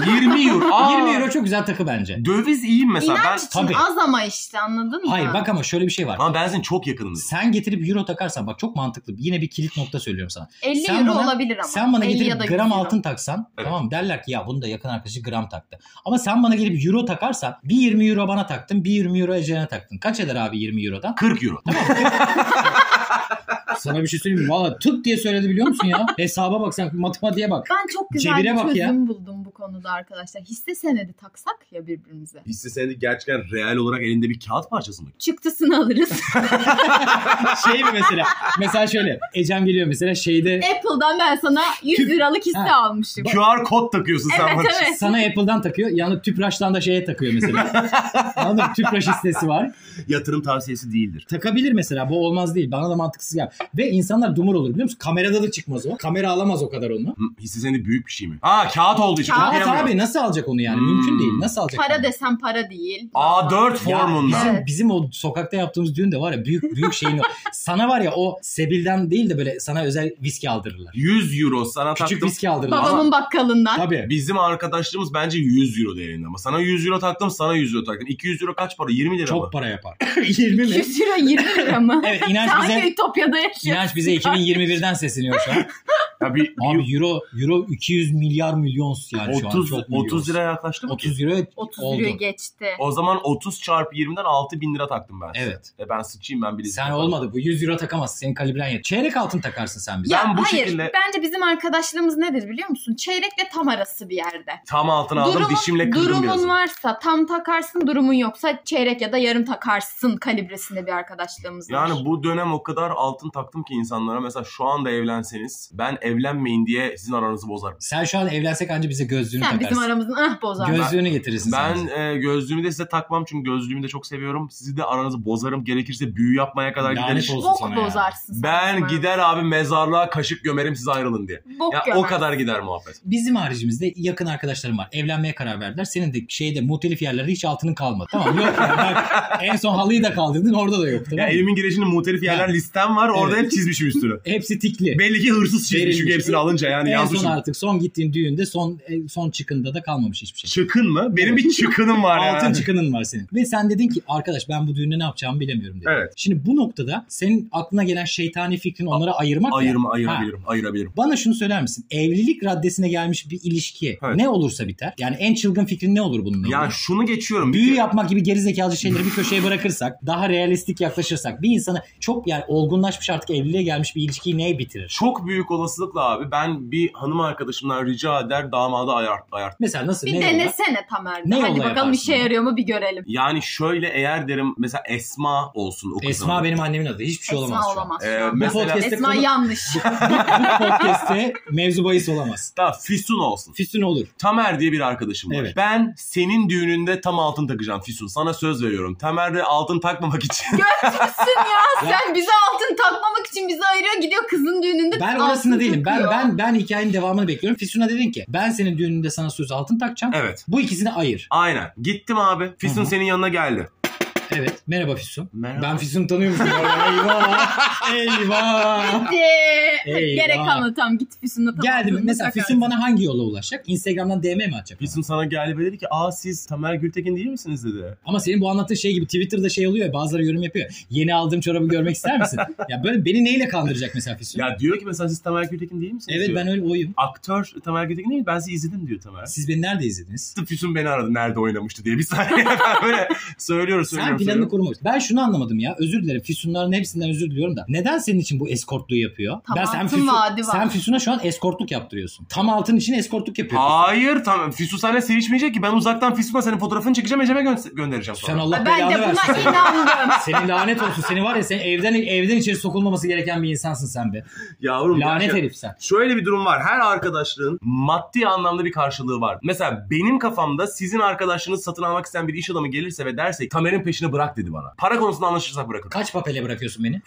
Speaker 4: 20 euro. Aa,
Speaker 2: 20 euro çok güzel takı bence.
Speaker 4: Döviz iyi mi mesela?
Speaker 1: İnanç
Speaker 4: ben
Speaker 1: için
Speaker 2: Tabii.
Speaker 1: az ama işte anladın mı?
Speaker 2: Hayır bak ama şöyle bir şey var.
Speaker 4: ama ben sizin çok yakınınız.
Speaker 2: Sen getirip euro takarsan bak çok mantıklı. Yine bir kilit nokta söylüyorum sana.
Speaker 1: 50
Speaker 2: sen
Speaker 1: euro
Speaker 2: bana-
Speaker 1: olabilir ama.
Speaker 2: Sen bana
Speaker 1: 50
Speaker 2: getirip
Speaker 1: ya da
Speaker 2: gram
Speaker 1: 100 euro.
Speaker 2: altın taksan
Speaker 4: Evet.
Speaker 2: tamam derler ki ya bunu da yakın arkadaşı gram taktı. Ama sen bana gelip euro takarsan bir 20 euro bana taktın bir 20 euro Ece'ne taktın. Kaç eder abi 20 eurodan?
Speaker 4: 40 euro.
Speaker 2: Sana bir şey söyleyeyim mi? Valla tık diye söyledi biliyor musun ya? Hesaba bak sen matematiğe bak.
Speaker 1: Ben çok güzel
Speaker 2: Cebine
Speaker 1: bir
Speaker 2: bak
Speaker 1: çözüm
Speaker 2: ya.
Speaker 1: buldum bu konuda arkadaşlar. Hisse senedi taksak ya birbirimize.
Speaker 4: Hisse senedi gerçekten real olarak elinde bir kağıt parçası mı?
Speaker 1: Çıktısını alırız.
Speaker 2: Şey mi mesela? Mesela şöyle. Ecem geliyor mesela şeyde
Speaker 1: Apple'dan ben sana 100
Speaker 2: Tüp.
Speaker 1: liralık hisse
Speaker 2: Ha.
Speaker 1: almışım.
Speaker 4: QR kod takıyorsun sen
Speaker 1: Evet
Speaker 4: bana.
Speaker 1: evet.
Speaker 2: sana Apple'dan takıyor. Yani tüpraştan da şeye takıyor mesela. Anladın mı? Tüpraş hissesi var.
Speaker 4: Yatırım tavsiyesi değildir.
Speaker 2: Takabilir mesela bu olmaz değil. Bana da mantıksız gel. Ve insanlar dumur olur biliyor musun? Kamerada da çıkmaz o. Kamera alamaz o kadar onu.
Speaker 4: Hı, Hisse senedi büyük bir şey mi? Aa kağıt olduğu için.
Speaker 1: Kağıt
Speaker 2: Kağıt
Speaker 4: okuyamıyorum.
Speaker 2: abi nasıl alacak onu yani?
Speaker 4: Hmm.
Speaker 2: Mümkün değil. Nasıl alacak? onu?
Speaker 1: Para desem para değil.
Speaker 4: A4
Speaker 2: Ya
Speaker 4: formunda.
Speaker 2: bizim,
Speaker 1: Evet.
Speaker 2: bizim o sokakta yaptığımız düğün de var ya büyük büyük şeyin o. Sana var ya o sebilden değil de böyle sana özel viski aldırırlar.
Speaker 4: 100 euro sana
Speaker 2: Küçük
Speaker 4: taktım.
Speaker 2: viski aldırırlar.
Speaker 1: Babamın bakkalından.
Speaker 2: Tabii.
Speaker 4: Bizim arkadaşlığımız bence 100 euro değerinde ama sana 100 euro taktım sana 100 euro taktım. 200 euro kaç para? 20 lira mı?
Speaker 2: Çok para yapar. 20 mi?
Speaker 1: 100 euro 20 lira mı?
Speaker 2: Evet inanç
Speaker 1: Sen hangi
Speaker 2: bize
Speaker 1: Ütopya'da yaşıyorsun?
Speaker 2: inanç bize 2021'den sesleniyor şu an.
Speaker 4: Ya bir,
Speaker 2: Abi euro euro 200 milyar milyon yani şu an.
Speaker 4: 30,
Speaker 2: Çok milyons.
Speaker 4: 30 lira yaklaştı mı?
Speaker 2: 30 euro
Speaker 1: 30
Speaker 2: oldu.
Speaker 1: euro geçti.
Speaker 4: O zaman 30 çarpı 20'den 6 bin lira taktım ben. size.
Speaker 2: Evet.
Speaker 4: E ben sıçayım ben bilezik.
Speaker 2: Sen
Speaker 4: takarım.
Speaker 2: olmadı bu 100 euro takamazsın. Senin kalibren yet. Çeyrek altın takarsın sen bize.
Speaker 1: Ya
Speaker 4: Ben bu
Speaker 1: hayır.
Speaker 4: şekilde-
Speaker 1: Bence bizim arkadaşlığımız nedir biliyor musun? Çeyrekle tam arası bir yerde.
Speaker 4: Tam altına aldım
Speaker 1: Durumun-
Speaker 4: dişimle kırdım
Speaker 1: durumun
Speaker 4: biraz.
Speaker 1: varsa tam takarsın, durumun yoksa çeyrek ya da yarım takarsın kalibresinde bir arkadaşlığımız var.
Speaker 4: Yani bu dönem o kadar altın taktım ki insanlara. Mesela şu anda evlenseniz ben evlenmeyin diye sizin aranızı bozarım.
Speaker 2: Sen şu an evlensek anca bize gözlüğünü
Speaker 1: Sen bizim
Speaker 2: takarsın.
Speaker 1: aramızın ah bozar.
Speaker 2: Gözlüğünü getirirsin sen
Speaker 4: Ben
Speaker 2: bize.
Speaker 4: e, gözlüğümü de size takmam çünkü gözlüğümü de çok seviyorum. Sizi de aranızı bozarım. Gerekirse büyü yapmaya kadar
Speaker 2: Lanet
Speaker 4: gideriz.
Speaker 2: olsun.
Speaker 1: Bok
Speaker 2: sana ya.
Speaker 1: bozarsın. sen bizim
Speaker 4: Ben
Speaker 1: aramızda.
Speaker 4: gider abi mezarlığa kaşık gömerim siz ayrılın diye.
Speaker 1: Bok
Speaker 4: Ya o
Speaker 1: gömer.
Speaker 4: kadar gider muhabbet.
Speaker 2: Bizim haricimizde yakın arkadaşlarım var. Evlenmeye karar verdiler. Senin de şeyde muhtelif yerlerde hiç altının kalmadı. Tamam yok ya bak en son halıyı da kaldırdın orada da yok.
Speaker 4: Ya
Speaker 2: Tamam mı?
Speaker 4: evimin girişinde muhtelif yerler
Speaker 2: Ya.
Speaker 4: listem var. Orada
Speaker 2: Evet.
Speaker 4: hep çizmişim üstünü.
Speaker 2: Hepsi tikli.
Speaker 4: Belli ki hırsız çizmiş
Speaker 2: Verilmiş.
Speaker 4: çünkü hepsini alınca yani şey.
Speaker 2: en son
Speaker 4: yazmışım.
Speaker 2: artık son gittiğin düğünde son e, son çıkında da kalmamış hiçbir şey.
Speaker 4: Çıkın mı? Benim bir çıkınım var yani.
Speaker 2: Altın çıkının var senin. Ve sen dedin ki arkadaş ben bu düğünde ne yapacağımı bilemiyorum dedin.
Speaker 4: Evet.
Speaker 2: Şimdi bu noktada senin aklına gelen şeytani fikrin onları ayırmak ya.
Speaker 4: Ayırma,
Speaker 2: Ha.
Speaker 4: ayırabilirim, ayırabilirim.
Speaker 2: Bana şunu söyler misin? Evlilik raddesine gelmiş bir ilişki
Speaker 4: Evet.
Speaker 2: ne olursa biter. Yani en çılgın fikrin ne olur bununla?
Speaker 4: Ya
Speaker 2: ilgili?
Speaker 4: şunu geçiyorum. Bir
Speaker 2: Büyü
Speaker 4: kere-
Speaker 2: yapmak gibi gerizekalıcı şeyleri bir köşeye bırakırsak, daha realistik yaklaşırsak bir insanı çok yani olgunlaşmış artık evliliğe gelmiş bir ilişkiyi neye bitirir?
Speaker 4: Çok büyük olasılıkla abi ben bir hanım arkadaşımdan rica eder damadı ayar, ayar.
Speaker 2: Mesela nasıl?
Speaker 1: Bir
Speaker 2: ne yolla?
Speaker 1: denesene Tamer.
Speaker 2: Ne yolla
Speaker 1: Hadi bakalım
Speaker 2: yaparsın
Speaker 1: işe
Speaker 2: bunu?
Speaker 1: yarıyor mu bir görelim.
Speaker 4: Yani şöyle eğer derim mesela Esma olsun o kızın.
Speaker 2: Esma benim annemin adı. Hiçbir şey olamaz.
Speaker 1: Esma
Speaker 2: şu an.
Speaker 1: olamaz.
Speaker 4: Ee,
Speaker 1: şu an.
Speaker 4: mesela-
Speaker 2: podcast'te
Speaker 1: Esma
Speaker 2: konu-
Speaker 1: yanlış.
Speaker 2: Bu podcast'te mevzu bahis olamaz.
Speaker 4: Daha Füsun olsun.
Speaker 2: Füsun olur.
Speaker 4: Tamer diye bir arkadaşım var.
Speaker 2: Evet.
Speaker 4: Ben senin düğününde tam altın takacağım Füsun. Sana söz veriyorum. Tamer de altın takmamak için.
Speaker 1: Sen ya sen bize altın takmamak için bizi ayırıyor gidiyor kızın düğününde
Speaker 2: Ben
Speaker 1: altın
Speaker 2: orasında değilim. Ben
Speaker 1: takıyor.
Speaker 2: ben ben hikayenin devamını bekliyorum. Füsun'a dedin ki ben senin düğününde sana söz altın takacağım.
Speaker 4: evet.
Speaker 2: Bu ikisini ayır.
Speaker 4: Aynen. Gittim abi. Füsun
Speaker 2: Hı hı.
Speaker 4: senin yanına geldi.
Speaker 2: Evet. Merhaba Füsun.
Speaker 4: Merhaba.
Speaker 2: Ben Füsun'u tanıyormuşum. eyvah. Eyvah.
Speaker 1: Gitti.
Speaker 2: Eyvah.
Speaker 1: Gerek kalmadı tamam git Füsun'la tamam.
Speaker 2: Geldim.
Speaker 1: Füsun'la
Speaker 2: Mesela
Speaker 1: takarız.
Speaker 2: Füsun bana hangi yolla ulaşacak? Instagram'dan DM mi atacak? bana?
Speaker 4: Füsun sana geldi ve dedi ki aa siz Tamer Gültekin değil misiniz dedi.
Speaker 2: Ama senin bu anlattığın şey gibi Twitter'da şey oluyor ya bazıları yorum yapıyor. Yeni aldığım çorabı görmek ister misin? ya böyle beni neyle kandıracak mesela Füsun?
Speaker 4: Ya diyor ki mesela siz Tamer Gültekin değil misiniz
Speaker 2: evet
Speaker 4: diyor.
Speaker 2: ben öyle oyum.
Speaker 4: Aktör Tamer Gültekin değil mi? Ben sizi izledim diyor Tamer.
Speaker 2: Siz beni nerede izlediniz?
Speaker 4: Füsun beni aradı nerede oynamıştı diye bir saniye. Ben böyle söylüyoruz söylüyoruz.
Speaker 2: Sen senin
Speaker 4: Söylüyorum,
Speaker 2: planını
Speaker 4: söylüyorum.
Speaker 2: korumamış. Ben şunu anlamadım ya. Özür dilerim. Füsunların hepsinden özür diliyorum da. Neden senin için bu eskortluğu yapıyor?
Speaker 1: Tam
Speaker 2: sen
Speaker 1: altın
Speaker 2: Füsun-
Speaker 1: vaadi var.
Speaker 2: Sen Füsun'a şu an eskortluk yaptırıyorsun. Tam altın için eskortluk yapıyorsun.
Speaker 4: Hayır tamam. Füsun seninle sevişmeyecek ki. Ben uzaktan Füsun'a senin fotoğrafını çekeceğim. Ecem'e gö- göndereceğim sonra.
Speaker 2: Sen Allah
Speaker 1: ben
Speaker 2: belanı
Speaker 1: de
Speaker 2: versin.
Speaker 1: buna inandım.
Speaker 2: Senin lanet olsun. Senin var ya sen evden evden içeri sokulmaması gereken bir insansın sen be.
Speaker 4: Yavrum.
Speaker 2: Lanet
Speaker 4: gerçekten-
Speaker 2: herif sen.
Speaker 4: Şöyle bir durum var. Her arkadaşlığın maddi anlamda bir karşılığı var. Mesela benim kafamda sizin arkadaşlığınızı satın almak isteyen bir iş adamı gelirse ve derse Tamer'in peşini bırak dedi bana. Para konusunda anlaşırsak bırakın.
Speaker 2: Kaç papele bırakıyorsun beni?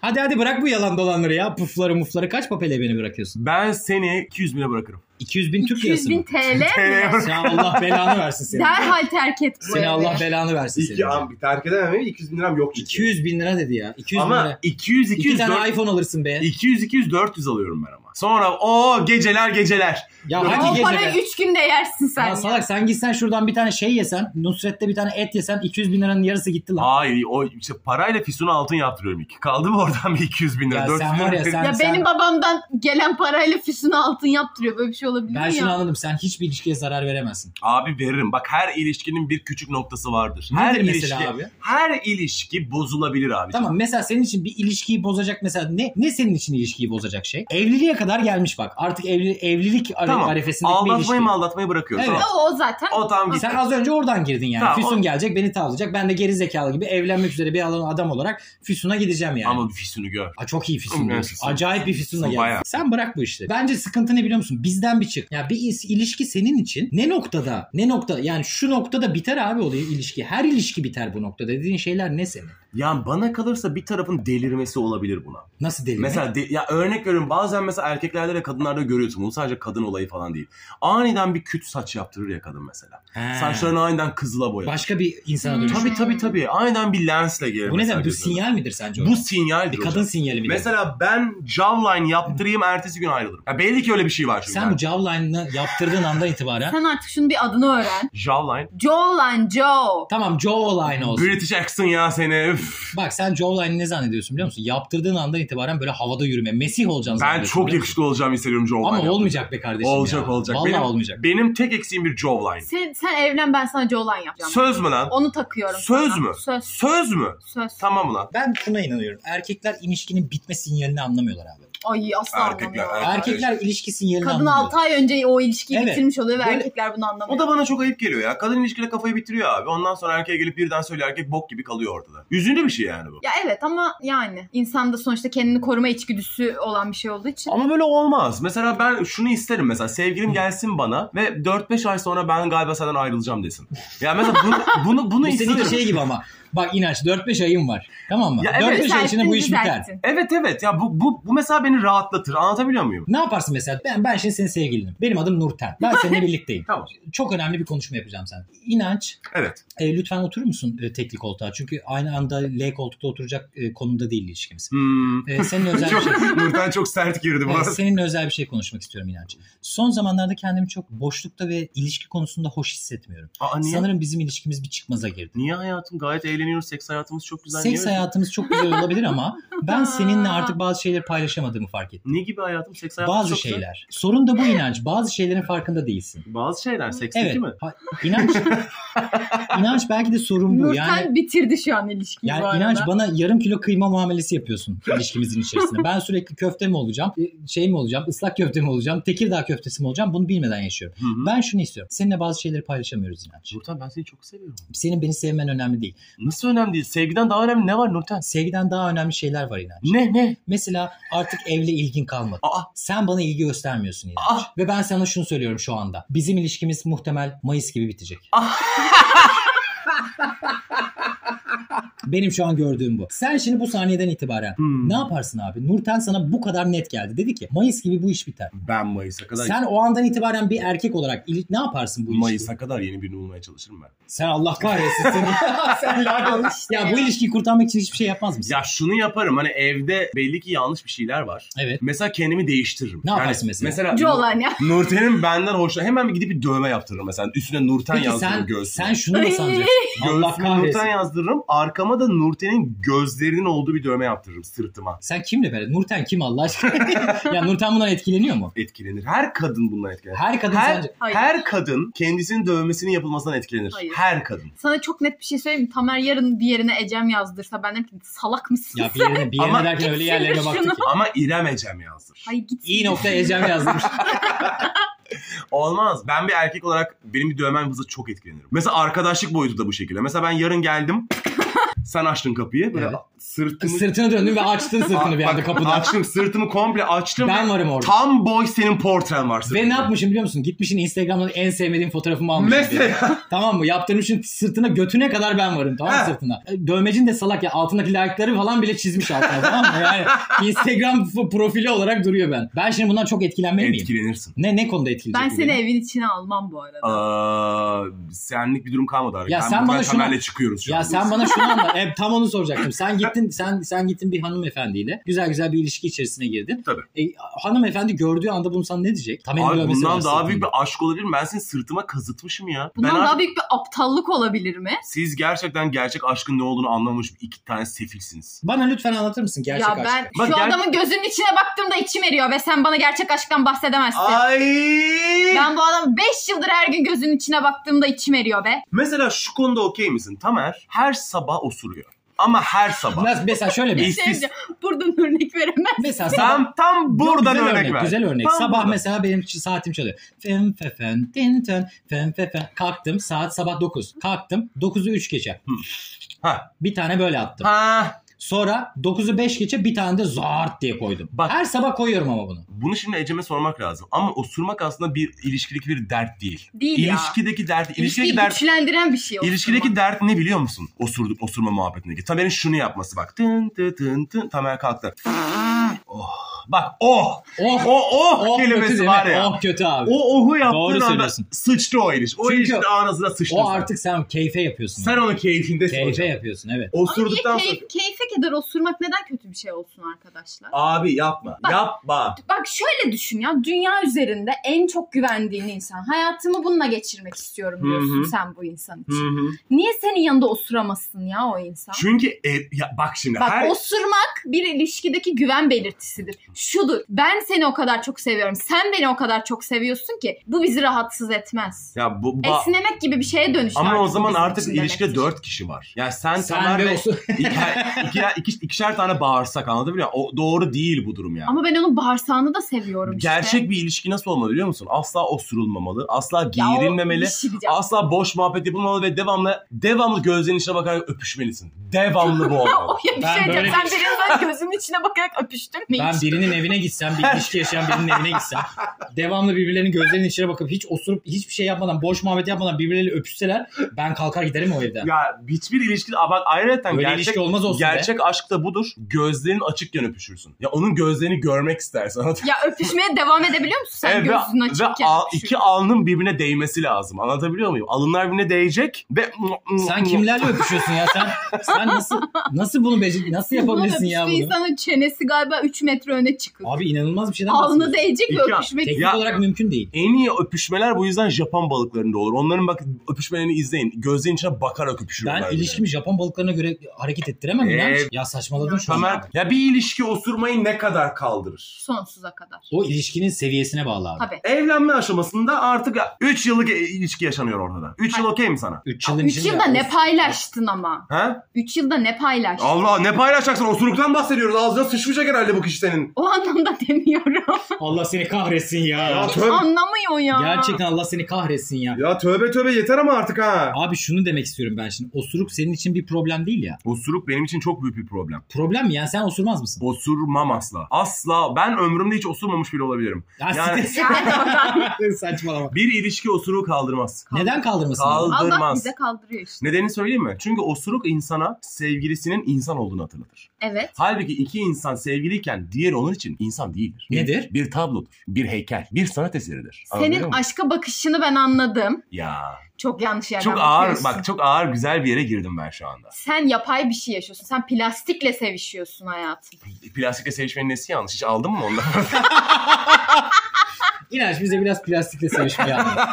Speaker 2: Hadi hadi bırak bu yalan dolanları ya. Pufları mufları kaç papele beni bırakıyorsun?
Speaker 4: Ben seni 200 bine bırakırım.
Speaker 2: 200 bin Türk
Speaker 1: 200
Speaker 2: lirası
Speaker 1: bin
Speaker 2: mı?
Speaker 1: TL mi?
Speaker 4: Eee,
Speaker 2: Sen Allah belanı versin seni.
Speaker 1: Derhal terk et bu
Speaker 2: Seni
Speaker 1: evi.
Speaker 2: Allah belanı versin
Speaker 4: İki
Speaker 2: seni.
Speaker 4: an bir terk edemem 200 bin liram yok çünkü.
Speaker 2: 200 bin lira dedi ya. 200 bin
Speaker 4: ama
Speaker 2: lira.
Speaker 4: 200
Speaker 2: 2
Speaker 4: 200
Speaker 2: tane
Speaker 4: 400
Speaker 2: iPhone alırsın be.
Speaker 4: 200 200 400 alıyorum ben ama. Sonra o geceler geceler.
Speaker 2: Ya
Speaker 4: Ama
Speaker 2: hadi
Speaker 1: O
Speaker 2: gece
Speaker 1: parayı
Speaker 2: be.
Speaker 1: 3 günde yersin sen.
Speaker 2: Ya salak sen gitsen şuradan bir tane şey yesen. Nusret'te bir tane et yesen 200 bin liranın yarısı gitti lan.
Speaker 4: Hayır o işte parayla Füsun'a altın yaptırıyorum iki. Kaldı mı oradan bir 200 bin lira?
Speaker 2: Ya
Speaker 4: 400
Speaker 2: sen
Speaker 4: bin
Speaker 2: var ya,
Speaker 4: lira-
Speaker 2: sen-
Speaker 1: ya benim babamdan gelen parayla füsun altın yaptırıyor. Böyle bir şey olabilir
Speaker 2: Ben
Speaker 1: mi
Speaker 2: şunu
Speaker 1: ya?
Speaker 2: anladım. Sen hiçbir ilişkiye zarar veremezsin.
Speaker 4: Abi veririm. Bak her ilişkinin bir küçük noktası vardır.
Speaker 2: Nedir
Speaker 4: her ilişki
Speaker 2: mesela abi?
Speaker 4: her ilişki bozulabilir abi.
Speaker 2: Tamam mesela senin için bir ilişkiyi bozacak mesela ne ne senin için ilişkiyi bozacak şey? Evliliğe kadar gelmiş bak. Artık evli, evlilik are-
Speaker 4: Tamam.
Speaker 2: arefesindeki bir ilişki.
Speaker 4: Aldatmayı mı aldatmayı bırakıyorum.
Speaker 2: Evet.
Speaker 4: Tamam.
Speaker 1: O, o zaten.
Speaker 4: O tam gitti.
Speaker 2: Sen az önce oradan girdin yani.
Speaker 4: Tamam,
Speaker 2: Füsun
Speaker 4: o-
Speaker 2: gelecek beni tavlayacak. Ben de geri zekalı gibi evlenmek üzere bir alan adam olarak Füsun'a gideceğim yani.
Speaker 4: Ama bir Füsun'u gör.
Speaker 2: Aa, çok iyi
Speaker 4: Ama
Speaker 2: Füsun
Speaker 4: ben
Speaker 2: diyorsun.
Speaker 4: Füsun-
Speaker 2: Acayip bir Füsun'la
Speaker 4: Füsun
Speaker 2: geldin.
Speaker 4: bayağı.
Speaker 2: Sen bırak bu işleri. Bence sıkıntı ne biliyor musun? Bizden bir çık. Ya bir is- ilişki senin için ne noktada ne nokta yani şu noktada biter abi o ilişki. Her ilişki biter bu noktada. Dediğin şeyler ne senin?
Speaker 4: Ya bana kalırsa bir tarafın delirmesi olabilir buna.
Speaker 2: Nasıl delirme?
Speaker 4: Mesela de- ya örnek veriyorum bazen mesela erkeklerde de kadınlarda görüyorsun bunu sadece kadın olayı falan değil. Aniden bir küt saç yaptırır ya kadın mesela.
Speaker 2: Ha.
Speaker 4: Saçlarını aniden kızıla boyar.
Speaker 2: başka bir insana
Speaker 1: Hmm.
Speaker 2: dönüş.
Speaker 4: Tabii tabii tabii. Aniden bir lensle gelir.
Speaker 2: Bu ne
Speaker 4: mesela
Speaker 2: demek? Bu
Speaker 4: gözüne.
Speaker 2: sinyal midir sence?
Speaker 4: Bu
Speaker 2: hocam?
Speaker 4: sinyaldir
Speaker 2: bir
Speaker 4: hocam.
Speaker 2: kadın sinyali midir?
Speaker 4: Mesela ben jawline yaptırayım ertesi gün ayrılırım. Ya belli ki öyle bir şey var çünkü.
Speaker 2: sen bu jawline'ını yaptırdığın andan itibaren
Speaker 1: Sen artık şunun bir adını öğren.
Speaker 4: Jawline.
Speaker 1: Jolan Joe.
Speaker 2: tamam jawline olsun.
Speaker 4: British accent ya seni. Üf.
Speaker 2: Bak sen jawline'ı ne zannediyorsun biliyor musun? Yaptırdığın andan itibaren böyle havada yürüme. Mesih olacaksın
Speaker 4: Ben
Speaker 2: zannediyorsun
Speaker 4: çok
Speaker 2: biliyor musun?
Speaker 4: yakışıklı olacağımı hissediyorum jawline.
Speaker 2: Ama
Speaker 4: yaptım.
Speaker 2: olmayacak be kardeşim
Speaker 4: Olacak
Speaker 2: ya.
Speaker 4: olacak.
Speaker 2: Vallahi
Speaker 4: benim,
Speaker 2: olmayacak.
Speaker 4: Benim tek eksiğim bir jawline.
Speaker 1: Sen, sen evlen ben sana Jolan yapacağım.
Speaker 4: Söz mü lan?
Speaker 1: Onu takıyorum.
Speaker 4: Söz
Speaker 1: sana.
Speaker 4: mü?
Speaker 1: Söz.
Speaker 4: Söz mü?
Speaker 1: Söz.
Speaker 4: Tamam lan.
Speaker 2: Ben şuna inanıyorum. Erkekler ilişkinin bitme sinyalini anlamıyorlar abi.
Speaker 1: Ay asla
Speaker 4: Erkekler,
Speaker 1: anlamıyorum.
Speaker 4: erkekler.
Speaker 2: Erkekler ilişki sinyalini
Speaker 1: Kadın
Speaker 2: anlamıyor.
Speaker 1: 6 ay önce o ilişkiyi
Speaker 2: Evet.
Speaker 1: bitirmiş oluyor ve
Speaker 2: Böyle-
Speaker 1: erkekler bunu anlamıyor.
Speaker 4: O da bana çok ayıp geliyor ya. Kadın ilişkide kafayı bitiriyor abi. Ondan sonra erkeğe gelip birden söylüyor. Erkek bok gibi kalıyor ortada. Üzüntü bir şey yani bu.
Speaker 1: Ya evet ama yani insanda sonuçta kendini koruma içgüdüsü olan bir şey olduğu için.
Speaker 4: Ama böyle olmaz. Mesela ben şunu isterim mesela sevgilim gelsin bana ve 4-5 ay sonra ben galiba senden ayrılacağım desin. Ya mesela bunu bunu, bunu
Speaker 2: Bu seninki
Speaker 4: isterim.
Speaker 2: şey gibi ama. Bak inanç 4-5 ayım var. Tamam mı?
Speaker 4: Ya evet.
Speaker 2: 4-5 ay şey içinde bu iş
Speaker 1: Düzelttin,
Speaker 2: biter.
Speaker 1: düzelttin.
Speaker 4: Evet evet ya bu, bu, bu mesela beni rahatlatır. Anlatabiliyor muyum?
Speaker 2: Ne yaparsın mesela? Ben ben şimdi senin sevgilinim. Benim adım Nurten. Ben seninle birlikteyim.
Speaker 4: Tamam.
Speaker 2: Çok önemli bir konuşma yapacağım sen. İnanç,
Speaker 4: Evet.
Speaker 2: e, lütfen oturur musun e, tekli koltuğa? Çünkü aynı anda L koltukta oturacak e, konumda değil ilişkimiz.
Speaker 4: Hmm.
Speaker 2: E, senin özel bir şey.
Speaker 4: Çok, Nurten çok sert girdi
Speaker 2: Evet,
Speaker 4: bana.
Speaker 2: senin özel bir şey konuşmak istiyorum İnanç. Son zamanlarda kendimi çok boşlukta ve ilişki konusunda hoş hissetmiyorum.
Speaker 4: Aa, niye?
Speaker 2: Sanırım bizim ilişkimiz bir çıkmaza girdi.
Speaker 4: Niye hayatım? Gayet eğleniyoruz. Seks hayatımız çok güzel.
Speaker 2: Seks
Speaker 4: Niye-
Speaker 2: hayatımız çok güzel olabilir ama ben seninle artık bazı şeyleri paylaşamadığımı fark ettim.
Speaker 4: Ne gibi hayatım? Seks hayatımız
Speaker 2: Bazı
Speaker 4: çok güzel.
Speaker 2: şeyler. Sorun da bu inanç. Bazı şeylerin farkında değilsin.
Speaker 4: Bazı şeyler. Seks
Speaker 2: Evet.
Speaker 4: değil mi?
Speaker 2: Ha- İnanç, inanç belki de sorun bu.
Speaker 1: Nurten
Speaker 2: Yani
Speaker 1: bitirdi şu an ilişkiyi bu
Speaker 2: yani
Speaker 1: arada.
Speaker 2: inanç bana yarım kilo kıyma muamelesi yapıyorsun ilişkimizin içerisinde. Ben sürekli köfte mi olacağım, e, şey mi olacağım, ıslak köfte mi olacağım, Tekirdağ köftesi mi olacağım bunu bilmeden yaşıyorum.
Speaker 4: Hı hı.
Speaker 2: Ben şunu istiyorum. Seninle bazı şeyleri paylaşamıyoruz inanç.
Speaker 4: Nurten ben seni çok seviyorum.
Speaker 2: Senin beni sevmen önemli değil.
Speaker 4: Nasıl önemli değil? Sevgiden daha önemli ne var Nurten?
Speaker 2: Sevgiden daha önemli şeyler var inanç.
Speaker 4: Ne ne?
Speaker 2: Mesela artık evle ilgin kalmadı.
Speaker 4: Aa.
Speaker 2: Sen bana ilgi göstermiyorsun inanç.
Speaker 4: Aa.
Speaker 2: Ve ben sana şunu söylüyorum şu anda. Bizim ilişkimiz muhtemel Mayıs gibi bitecek. Benim şu an gördüğüm bu. Sen şimdi bu saniyeden itibaren
Speaker 4: Hmm.
Speaker 2: ne yaparsın abi? Nurten sana bu kadar net geldi. Dedi ki Mayıs gibi bu iş biter.
Speaker 4: Ben Mayıs'a kadar
Speaker 2: Sen o andan itibaren bir erkek olarak ili- ne yaparsın bu ilişkiyi?
Speaker 4: Mayıs'a kadar yeni birini bulmaya çalışırım ben.
Speaker 2: Sen Allah kahretsin seni. Sen lanet olsun. Ya bu ilişkiyi kurtarmak için hiçbir şey yapmaz mısın?
Speaker 4: Ya şunu yaparım hani evde belli ki yanlış bir şeyler var.
Speaker 2: Evet.
Speaker 4: Mesela kendimi değiştiririm.
Speaker 2: Ne yaparsın mesela?
Speaker 1: Jolan ya.
Speaker 4: Nurten'in benden hoşlan. Hemen bir gidip bir dövme yaptırırım mesela. Üstüne Nurten
Speaker 2: Peki
Speaker 4: yazdırırım
Speaker 2: sen,
Speaker 4: göğsüne.
Speaker 2: sen şunu da
Speaker 1: Ay.
Speaker 2: sanacaksın. Allah
Speaker 4: Göğsüne Nurten
Speaker 2: kahretsin.
Speaker 4: yazdırırım. arkama da Nurten'in gözlerinin olduğu bir dövme yaptırırım sırtıma.
Speaker 2: Sen kimle beraber? Nurten kim Allah aşkına? ya Nurten bundan etkileniyor mu?
Speaker 4: Etkilenir. Her kadın bundan etkilenir.
Speaker 2: Her kadın
Speaker 4: Her-
Speaker 2: sence...
Speaker 1: Hayır.
Speaker 4: Her kadın kendisinin dövmesinin yapılmasından etkilenir.
Speaker 1: Hayır.
Speaker 4: Her kadın.
Speaker 1: Sana çok net bir şey söyleyeyim mi? Tamer yarın bir yerine Ecem yazdırsa ben derim ki salak mısın?
Speaker 2: Ya bir yerine, bir yerine
Speaker 4: Ama-
Speaker 2: derken öyle yerlere baktık ki.
Speaker 4: Ama İrem Ecem yazdır.
Speaker 1: Hayır git.
Speaker 2: İyi nokta Ecem yazmış.
Speaker 4: Olmaz. Ben bir erkek olarak benim bir dövmem hızla çok etkilenirim. Mesela arkadaşlık boyutu da bu şekilde. Mesela ben yarın geldim. Sen açtın kapıyı. Böyle
Speaker 2: Evet.
Speaker 4: sırtımı...
Speaker 2: sırtını döndün ve açtın sırtını bir anda
Speaker 4: Bak,
Speaker 2: kapıdan.
Speaker 4: Açtım sırtımı komple açtım.
Speaker 2: Ben varım orada.
Speaker 4: Tam boy senin portren var sırtımda.
Speaker 2: Ve ne yapmışım biliyor musun? Gitmişsin Instagram'dan en sevmediğim fotoğrafımı almışsın. diye.
Speaker 4: Mesela
Speaker 2: Tamam mı? Yaptırmışsın sırtına götüne kadar ben varım tamam mı
Speaker 4: Ha.
Speaker 2: sırtına. E, Dövmecin de salak ya altındaki like'ları falan bile çizmiş altına tamam mı? Yani Instagram f- profili olarak duruyor ben. Ben şimdi bundan çok etkilenmeli miyim?
Speaker 4: etkilenirsin.
Speaker 2: Ne ne konuda etkilenecek?
Speaker 1: Ben
Speaker 2: bu
Speaker 1: seni
Speaker 2: beni?
Speaker 1: evin içine almam bu arada.
Speaker 4: Aa, senlik bir durum kalmadı artık.
Speaker 2: Ya
Speaker 4: ben
Speaker 2: sen
Speaker 4: bu
Speaker 2: bana
Speaker 4: ben
Speaker 2: şunu-
Speaker 4: Tamer'le çıkıyoruz şu
Speaker 2: Ya
Speaker 4: an.
Speaker 2: sen bana şunu anla. E, tam onu soracaktım. Sen gittin sen sen gittin bir hanımefendiyle. Güzel güzel bir ilişki içerisine girdin.
Speaker 4: Tabii.
Speaker 2: E, hanımefendi gördüğü anda bunu sana ne diyecek? Tam elini
Speaker 4: Abi
Speaker 2: dövmesi
Speaker 4: bundan
Speaker 2: var
Speaker 4: daha
Speaker 2: sırtında.
Speaker 4: büyük bir aşk olabilir mi? Ben seni sırtıma kazıtmışım ya.
Speaker 1: Bundan
Speaker 4: ben artık-
Speaker 1: daha büyük bir aptallık olabilir mi?
Speaker 4: Siz gerçekten gerçek aşkın ne olduğunu anlamamış iki tane sefilsiniz.
Speaker 2: Bana lütfen anlatır mısın gerçek
Speaker 1: ya
Speaker 2: aşkı?
Speaker 1: ben
Speaker 4: Bak
Speaker 1: şu
Speaker 4: ger-
Speaker 1: adamın gözünün içine baktığımda içim eriyor ve sen bana gerçek aşktan bahsedemezsin.
Speaker 4: Ay!
Speaker 1: Ben bu adam 5 yıldır her gün gözünün içine baktığımda içim eriyor be.
Speaker 4: Mesela şu konuda okey misin? Tamer her sabah osuruyor. Ama her sabah.
Speaker 2: Nasıl- mesela şöyle mi?
Speaker 4: İyi.
Speaker 1: Şey
Speaker 4: Siz-
Speaker 1: diyeceğim, buradan örnek veremem.
Speaker 2: mesela sabah
Speaker 4: Tam tam buradan
Speaker 2: güzel
Speaker 4: örnek, ver.
Speaker 2: Güzel örnek.
Speaker 4: Tam
Speaker 2: sabah
Speaker 4: buradan.
Speaker 2: mesela benim ç- saatim çalıyor. Fen fe fen ten ten fen fe fen. Kalktım saat sabah 9. Kalktım 9'u 3 geçe.
Speaker 4: Ha.
Speaker 2: Bir tane böyle attım.
Speaker 4: Ha.
Speaker 2: Sonra 9'u 5 geçe bir tane de zart diye koydum.
Speaker 4: Bak-
Speaker 2: Her sabah koyuyorum ama bunu.
Speaker 4: Bunu şimdi Ecem'e sormak lazım. Ama osurmak aslında bir ilişkideki bir dert değil.
Speaker 1: Değil ya.
Speaker 4: ilişkideki dert, ilişkideki
Speaker 1: İlişkiyi
Speaker 4: dert
Speaker 1: güçlendiren bir şey olsun
Speaker 4: İlişkideki
Speaker 1: ama.
Speaker 4: dert ne biliyor musun? Osurduk osurma muhabbetindeki. Tamer'in şunu yapması bak. Tın tın tın tın. Tamer kalktı. oh. Bak oh.
Speaker 2: Oh,
Speaker 4: O oh,
Speaker 2: oh kötü
Speaker 4: kelimesi
Speaker 2: değil
Speaker 4: var
Speaker 2: mi?
Speaker 4: ya.
Speaker 2: Oh kötü abi.
Speaker 4: O ohu
Speaker 2: Doğru
Speaker 4: yaptığın anda
Speaker 2: söylüyorsun.
Speaker 4: sıçtı o ilişki. O
Speaker 2: Çünkü
Speaker 4: ilişki ağzına sıçtı.
Speaker 2: o
Speaker 4: sen.
Speaker 2: artık sen keyfe yapıyorsun.
Speaker 4: Sen onun keyfindesin
Speaker 2: keyfe
Speaker 4: hocam.
Speaker 2: yapıyorsun evet.
Speaker 1: Ama niye
Speaker 4: Osurduktan sonra...
Speaker 1: keyif, keyfe kadar osurmak neden kötü bir şey olsun arkadaşlar?
Speaker 4: Abi yapma.
Speaker 1: Bak.
Speaker 4: Yapma.
Speaker 1: Bak şöyle düşün ya dünya üzerinde en çok güvendiğin insan. Hayatımı bununla geçirmek istiyorum diyorsun
Speaker 4: Hı hı.
Speaker 1: sen bu insan
Speaker 4: Hı
Speaker 1: için.
Speaker 4: hı.
Speaker 1: Niye senin yanında osuramazsın ya o insan?
Speaker 4: Çünkü e, ya bak şimdi
Speaker 1: Bak
Speaker 4: her
Speaker 1: osurmak bir ilişkideki güven belirtisidir. Şudur. Ben seni o kadar çok seviyorum. Sen beni o kadar çok seviyorsun ki bu bizi rahatsız etmez.
Speaker 4: ya bu ba-
Speaker 1: Esnemek gibi bir şeye dönüşür.
Speaker 4: ama o zaman
Speaker 1: bizim
Speaker 4: artık
Speaker 1: için
Speaker 4: ilişkide
Speaker 1: demektir.
Speaker 4: dört kişi var. Ya sen,
Speaker 2: Sen
Speaker 4: Tamer
Speaker 2: ve
Speaker 4: ve
Speaker 2: olsun.
Speaker 4: iki, iki, ikişer tane bağırsak anladın mı? O doğru değil bu durum yani.
Speaker 1: Ama ben onun bağırsağını da seviyorum işte.
Speaker 4: Gerçek bir ilişki nasıl olmalı biliyor musun? Asla osurulmamalı, asla
Speaker 1: Ya o
Speaker 4: giyirilmemeli,
Speaker 1: bir şey diyeceğim.
Speaker 4: asla boş muhabbet yapılmamalı ve devamlı devamlı gözlerinin içine bakarak öpüşmelisin. Devamlı bu olmalı.
Speaker 1: Ya bir
Speaker 2: Ben
Speaker 1: şey diyeceğim.
Speaker 2: böyle-
Speaker 1: Sen birinin gözümün içine bakarak öpüştün mü
Speaker 2: Ben
Speaker 1: hiç?
Speaker 2: birinin evine gitsem, bir ilişki yaşayan birinin evine gitsem, devamlı birbirlerinin gözlerinin içine bakıp hiç osurup hiçbir şey yapmadan, boş muhabbet yapmadan birbirleriyle öpüşseler ben kalkar giderim o evden.
Speaker 4: ya hiçbir ilişki Aa, bak ayrıca
Speaker 2: Böyle
Speaker 4: gerçek
Speaker 2: ilişki olmaz olsun be.
Speaker 4: gerçek aşk da budur. Gözlerin açıkken öpüşürsün. Ya onun gözlerini görmek istersen. Anladın mı?
Speaker 1: Ya öpüşmeye devam edebiliyor musun sen
Speaker 4: Evet, ve-
Speaker 1: gözünün
Speaker 4: ve
Speaker 1: açıkken?
Speaker 4: al-
Speaker 1: öpüşürken?
Speaker 4: iki alnın birbirine değmesi lazım. Anlatabiliyor muyum? Alınlar birbirine değecek ve
Speaker 2: Sen kimlerle öpüşüyorsun ya sen? Sen nasıl nasıl bunu becer nasıl yapabilirsin ya
Speaker 1: Bunun
Speaker 2: bunu?
Speaker 1: öpüştüğü insanın çenesi galiba 3 metre öne çıkık.
Speaker 2: Abi inanılmaz bir şeyden
Speaker 1: Alnı
Speaker 2: bahsediyorsun.
Speaker 1: değecek ve
Speaker 4: İki-
Speaker 1: öpüşmek
Speaker 2: Teknik
Speaker 4: Ya-
Speaker 2: olarak mümkün değil.
Speaker 4: En iyi öpüşmeler bu yüzden Japon balıklarında olur. Onların bak öpüşmelerini izleyin. Gözlerin içine bakarak öpüşürler.
Speaker 2: Ben
Speaker 4: bile.
Speaker 2: ilişkimi Japon balıklarına göre hareket ettiremem
Speaker 4: Ee,
Speaker 2: ya. Ya saçmaladın şu an.
Speaker 4: Tamer, ya bir ilişki osurmayı ne kadar kaldırır?
Speaker 1: sonsuza kadar.
Speaker 2: O ilişkinin seviyesine bağlı abi.
Speaker 1: Tabii.
Speaker 4: Evlenme aşamasında artık 3 yıllık e- ilişki yaşanıyor orada. 3 yıl
Speaker 1: Hayır.
Speaker 4: okey mi sana?
Speaker 2: 3 yılın
Speaker 1: 3
Speaker 2: içinde-
Speaker 1: yılda ne paylaştın ama?
Speaker 4: Ha?
Speaker 1: 3 yılda ne paylaştın?
Speaker 4: Allah ne paylaşacaksın? Osuruktan bahsediyoruz. Ağzına sıçmayacak herhalde bu kişi senin.
Speaker 1: O anlamda demiyorum.
Speaker 2: Allah seni kahretsin
Speaker 4: Ya
Speaker 2: ya.
Speaker 4: tövbe,
Speaker 1: Anlamıyor ya.
Speaker 2: Gerçekten Allah seni kahretsin ya.
Speaker 4: ya tövbe tövbe yeter ama artık ha.
Speaker 2: Abi şunu demek istiyorum ben şimdi. Osuruk senin için bir problem değil ya.
Speaker 4: Osuruk benim için çok büyük bir problem.
Speaker 2: Problem mi? Yani sen osurmaz mısın?
Speaker 4: Osurmam asla. Asla. Ben ömrümde hiç osurmamış bile olabilirim.
Speaker 2: Ya
Speaker 4: Yani-
Speaker 2: siktir. Saçmalama.
Speaker 4: Bir ilişki osuruğu kaldırmaz.
Speaker 2: Neden kaldırmasın?
Speaker 4: Kal-
Speaker 1: Allah
Speaker 4: Kaldırmaz.
Speaker 1: bize kaldırıyor işte.
Speaker 4: Nedenini söyleyeyim mi? Çünkü osuruk insana sevgilisinin insan olduğunu hatırlatır.
Speaker 1: Evet.
Speaker 4: Halbuki iki insan sevgiliyken diğeri onun için insan değildir.
Speaker 2: Nedir?
Speaker 4: Bir tablodur, bir heykel, bir sanat eseridir. Anladın
Speaker 1: Senin
Speaker 4: mı?
Speaker 1: aşka bakışını ben anladım.
Speaker 4: Ya.
Speaker 1: Çok yanlış yerden
Speaker 4: çok ağır,
Speaker 1: bakıyorsun.
Speaker 4: bak çok ağır güzel bir yere girdim ben şu anda.
Speaker 1: Sen yapay bir şey yaşıyorsun. Sen plastikle sevişiyorsun hayatım.
Speaker 4: Plastikle sevişmenin nesi yanlış? Hiç aldın mı ondan?
Speaker 2: İnanç bize biraz plastikle sevişmeyi anlat.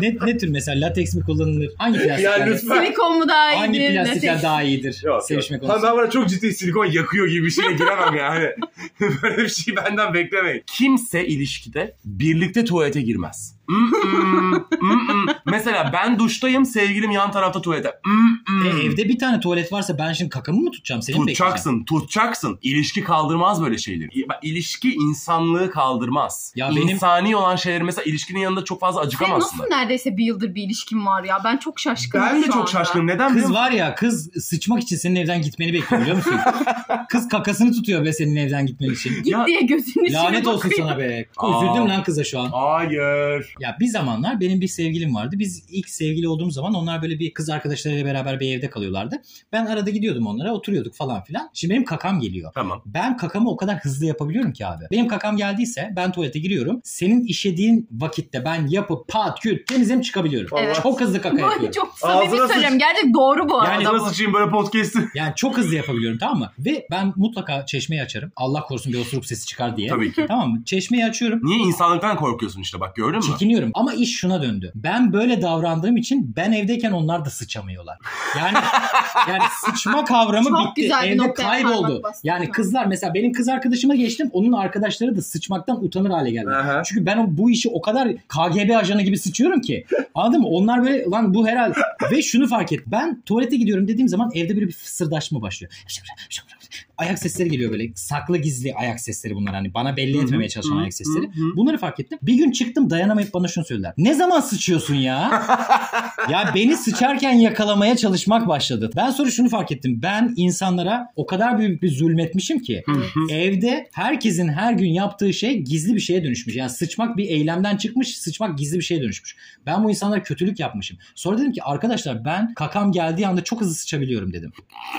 Speaker 2: ne, ne tür mesela lateks mi kullanılır? Hangi
Speaker 4: Ya
Speaker 2: plastikler,
Speaker 4: lütfen.
Speaker 1: Silikon mu daha
Speaker 2: hangi
Speaker 1: iyidir?
Speaker 2: plastikler
Speaker 1: latex?
Speaker 2: daha iyidir
Speaker 4: Yok, yok.
Speaker 2: sevişme
Speaker 4: Lan
Speaker 2: konusunda?
Speaker 4: ben bana çok ciddi silikon yakıyor gibi bir şeye giremem yani. Böyle bir şey benden beklemeyin. Kimse ilişkide birlikte tuvalete girmez. Mm-mm, mm-mm. Mesela ben duştayım sevgilim yan tarafta tuvalete. Hmm, Mm-mm.
Speaker 2: E, evde bir tane tuvalet varsa ben şimdi kakamı mı tutacağım? Seni mi bekleyeceğim?
Speaker 4: Tutacaksın, tutacaksın. İlişki kaldırmaz böyle şeyleri. Bak, İlişki insanlığı kaldırmaz.
Speaker 2: Ya benim-
Speaker 4: İnsani olan şeyler mesela ilişkinin yanında çok fazla
Speaker 1: Senin
Speaker 4: acıkamazsın.
Speaker 1: nasıl
Speaker 4: da.
Speaker 1: neredeyse bir yıldır bir ilişkin var ya? Ben çok şaşkınım
Speaker 4: Ben
Speaker 1: şu
Speaker 4: de çok
Speaker 1: anda.
Speaker 4: şaşkınım. Neden biliyor
Speaker 2: Kız
Speaker 4: musun?
Speaker 2: var ya kız sıçmak için senin evden gitmeni bekliyor biliyor musun? kız kakasını tutuyor be senin evden gitmen için.
Speaker 1: Git
Speaker 4: Ya-
Speaker 1: diye gözünün içine
Speaker 2: Lanet olsun
Speaker 1: bakıyor.
Speaker 2: sana be.
Speaker 4: Aa.
Speaker 2: Üzüldüm lan kıza şu an.
Speaker 4: Hayır.
Speaker 2: Ya bir zamanlar benim bir sevgilim vardı. Biz ilk sevgili olduğumuz zaman onlar böyle bir kız arkadaşlarıyla beraber bir evde kalıyorlardı. Ben arada gidiyordum onlara oturuyorduk falan filan. Şimdi benim kakam geliyor.
Speaker 4: Tamam.
Speaker 2: Ben kakamı o kadar hızlı yapabiliyorum ki abi. Benim kakam geldiyse ben tuvalete giriyorum. Senin işediğin vakitte ben yapıp pat küt temizim çıkabiliyorum.
Speaker 1: Evet.
Speaker 2: Çok hızlı kaka
Speaker 1: Bu
Speaker 2: yapıyorum.
Speaker 1: çok
Speaker 4: Ağzına
Speaker 1: samimi
Speaker 4: sıç.
Speaker 1: söyleyeceğim. Gerçek doğru bu
Speaker 4: Yani
Speaker 1: arada. bu.
Speaker 4: nasıl sıçayım böyle podcast'i?
Speaker 2: Yani çok hızlı yapabiliyorum tamam mı? Ve ben mutlaka çeşmeyi açarım. Allah korusun bir osuruk sesi çıkar diye.
Speaker 4: Tabii ki.
Speaker 2: Tamam mı? Çeşmeyi açıyorum.
Speaker 4: Niye insanlıktan korkuyorsun işte bak gördün mü?
Speaker 2: Çekiniyorum ama iş şuna döndü. Ben böyle davrandığım için ben evdeyken onlar da sıçamıyorlar. Yani yani sıçma kavramı
Speaker 1: Çok
Speaker 2: bitti.
Speaker 1: güzel bir
Speaker 2: Evde
Speaker 1: noktaya
Speaker 2: kayboldu.
Speaker 1: parmak bastın.
Speaker 2: Yani kızlar mesela benim kız arkadaşıma geçtim. Onun arkadaşları da sıçmaktan utanır hale geldi.
Speaker 4: Aha.
Speaker 2: Çünkü ben o- bu işi o kadar KGB ajanı gibi sıçıyorum ki. Anladın mı? Onlar böyle lan bu herhalde. Ve şunu fark et. Ben tuvalete gidiyorum dediğim zaman evde böyle bir fısırdaşma başlıyor. Ayak sesleri geliyor böyle. Saklı gizli ayak sesleri bunlar. Hani bana belli etmemeye çalışan ayak sesleri. Bunları fark ettim. Bir gün çıktım dayanamayıp bana şunu söylediler. Ne zaman sıçıyorsun ya? ya beni sıçarken yakalamaya çalışmak başladı. Ben sonra şunu fark ettim. Ben insanlara o kadar büyük bir zulmetmişim ki evde herkesin her gün yaptığı şey gizli bir şeye dönüşmüş. Yani sıçmak bir eylemden çıkmış, sıçmak gizli bir şeye dönüşmüş. Ben bu insanlara kötülük yapmışım. Sonra dedim ki arkadaşlar ben kakam geldiği anda çok hızlı sıçabiliyorum dedim.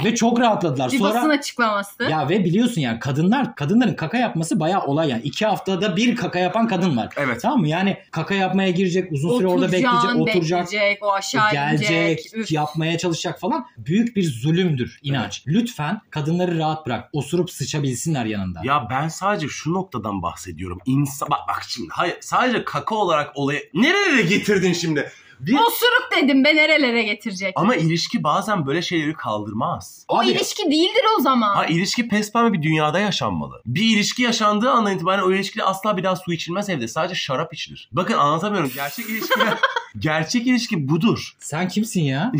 Speaker 2: Ve çok rahatladılar.
Speaker 1: Bir
Speaker 2: Sonra
Speaker 1: basın açıklaması.
Speaker 2: ya ve biliyorsun yani kadınlar kadınların kaka yapması bayağı olay yani. iki haftada bir kaka yapan kadın var.
Speaker 4: Evet.
Speaker 2: Tamam mı? Yani kaka yapmaya girecek, uzun süre orada bekleyecek,
Speaker 1: Oturacaksın,
Speaker 2: oturacak,
Speaker 1: bekleyecek, o aşağı
Speaker 2: E, gelecek,
Speaker 1: inecek. Üf.
Speaker 2: yapmaya çalışacak falan. Büyük bir zulümdür inanç. Lütfen kadınları rahat bırak. Osurup sıçabilsinler yanında.
Speaker 4: Ya ben sadece şu noktadan bahsediyorum. İnsan bak bak şimdi hayır, sadece kaka olarak olaya nerelere getirdin şimdi? Bir...
Speaker 1: Osuruk dedim be nerelere getirecek.
Speaker 4: Ama ilişki bazen böyle şeyleri kaldırmaz.
Speaker 1: o
Speaker 2: Abi-
Speaker 1: ilişki değildir o zaman.
Speaker 4: Ha ilişki pespembe bir dünyada yaşanmalı. Bir ilişki yaşandığı andan itibaren o ilişkide asla bir daha su içilmez evde. Sadece şarap içilir. Bakın anlatamıyorum. Gerçek ilişki gerçek ilişki budur.
Speaker 2: Sen kimsin ya?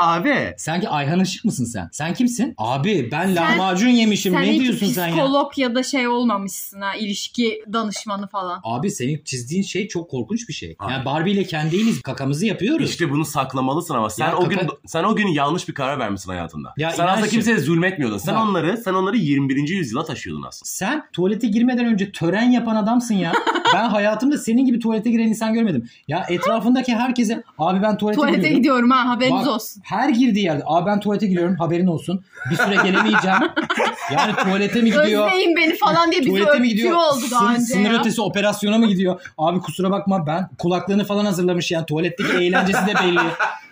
Speaker 4: Abi.
Speaker 2: Sanki Ayhan Işık mısın sen? Sen kimsin? Abi ben lahmacun yemişim.
Speaker 1: sen
Speaker 2: ne
Speaker 1: hiç
Speaker 2: diyorsun sen ya?
Speaker 1: psikolog ya da şey olmamışsın ha ilişki danışmanı falan.
Speaker 2: Abi senin çizdiğin şey çok korkunç bir şey.
Speaker 4: Abi.
Speaker 2: Yani Barbie ile kendi değiliz. Kakamızı yapıyoruz.
Speaker 4: İşte bunu saklamalısın ama sen
Speaker 2: Ya
Speaker 4: o
Speaker 2: kaka-
Speaker 4: gün sen o gün yanlış bir karar vermişsin hayatında.
Speaker 2: Ya
Speaker 4: sen aslında
Speaker 2: inançım.
Speaker 4: kimseye zulmetmiyordun. Sen
Speaker 2: Bak.
Speaker 4: onları sen onları 21. yüzyıla taşıyordun aslında.
Speaker 2: Sen tuvalete girmeden önce tören yapan adamsın ya. ben hayatımda senin gibi tuvalete giren insan görmedim. Ya etrafındaki herkese abi ben tuvalete,
Speaker 1: Tuvalete
Speaker 2: gidiyorum.
Speaker 1: gidiyorum ha haberiniz
Speaker 2: Bak,
Speaker 1: olsun.
Speaker 2: Her girdiği yerde abi ben tuvalete giriyorum haberin olsun. Bir süre gelemeyeceğim. yani tuvalete mi gidiyor?
Speaker 1: Özleyin beni falan diye bizi
Speaker 2: Tuvalete mi
Speaker 1: öptüğü
Speaker 2: gidiyor?
Speaker 1: oldu daha
Speaker 2: Sın-
Speaker 1: önce
Speaker 2: sınır
Speaker 1: ya.
Speaker 2: ötesi operasyona mı gidiyor? Abi kusura bakma ben kulaklığını falan hazırlamış yani tuvaletteki eğlencesi de belli.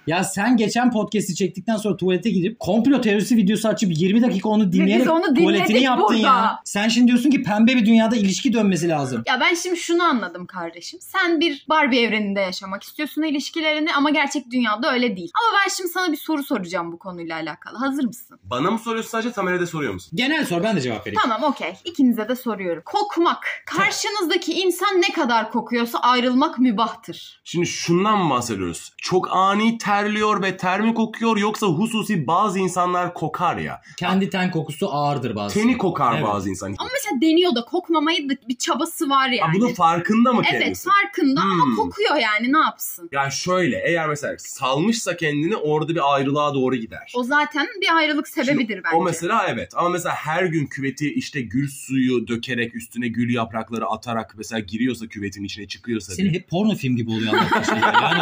Speaker 2: Ya sen geçen podcast'i çektikten sonra tuvalete gidip komplo teorisi videosu açıp 20 dakika onu dinleyerek
Speaker 1: biz onu
Speaker 2: tuvaletini
Speaker 1: dinledik
Speaker 2: yaptın ya.
Speaker 1: burada.
Speaker 2: Sen şimdi diyorsun ki pembe bir dünyada ilişki dönmesi lazım.
Speaker 1: Ya ben şimdi şunu anladım kardeşim. Sen bir Barbie evreninde yaşamak istiyorsun ilişkilerini ama gerçek dünyada öyle değil. Ama ben şimdi sana bir soru soracağım bu konuyla alakalı. Hazır mısın?
Speaker 4: Bana mı soruyorsun sadece Tamer'e de soruyor musun?
Speaker 2: Genel sor ben de cevap vereyim.
Speaker 1: Tamam okey. İkinize de soruyorum. Kokmak. Karşınızdaki insan ne kadar kokuyorsa ayrılmak mübahtır.
Speaker 4: Şimdi şundan mı bahsediyoruz? Çok ani terliyor ve ter mi kokuyor yoksa hususi bazı insanlar kokar ya.
Speaker 2: Kendi ten kokusu ağırdır bazen.
Speaker 4: Teni kokar
Speaker 2: Evet.
Speaker 4: bazı insan.
Speaker 1: Ama mesela deniyor da kokmamayı da bir çabası var yani.
Speaker 4: Ha, bunun farkında mı
Speaker 1: evet
Speaker 4: kendisi?
Speaker 1: farkında
Speaker 4: Hmm.
Speaker 1: ama kokuyor yani ne yapsın?
Speaker 4: Yani şöyle eğer mesela salmışsa kendini orada bir ayrılığa doğru gider.
Speaker 1: O zaten bir ayrılık sebebidir bence.
Speaker 4: O mesela evet ama mesela her gün küveti işte gül suyu dökerek üstüne gül yaprakları atarak mesela giriyorsa küvetin içine çıkıyorsa.
Speaker 2: Seni hep porno film gibi oluyor anlattığı şeyler. şey Yani,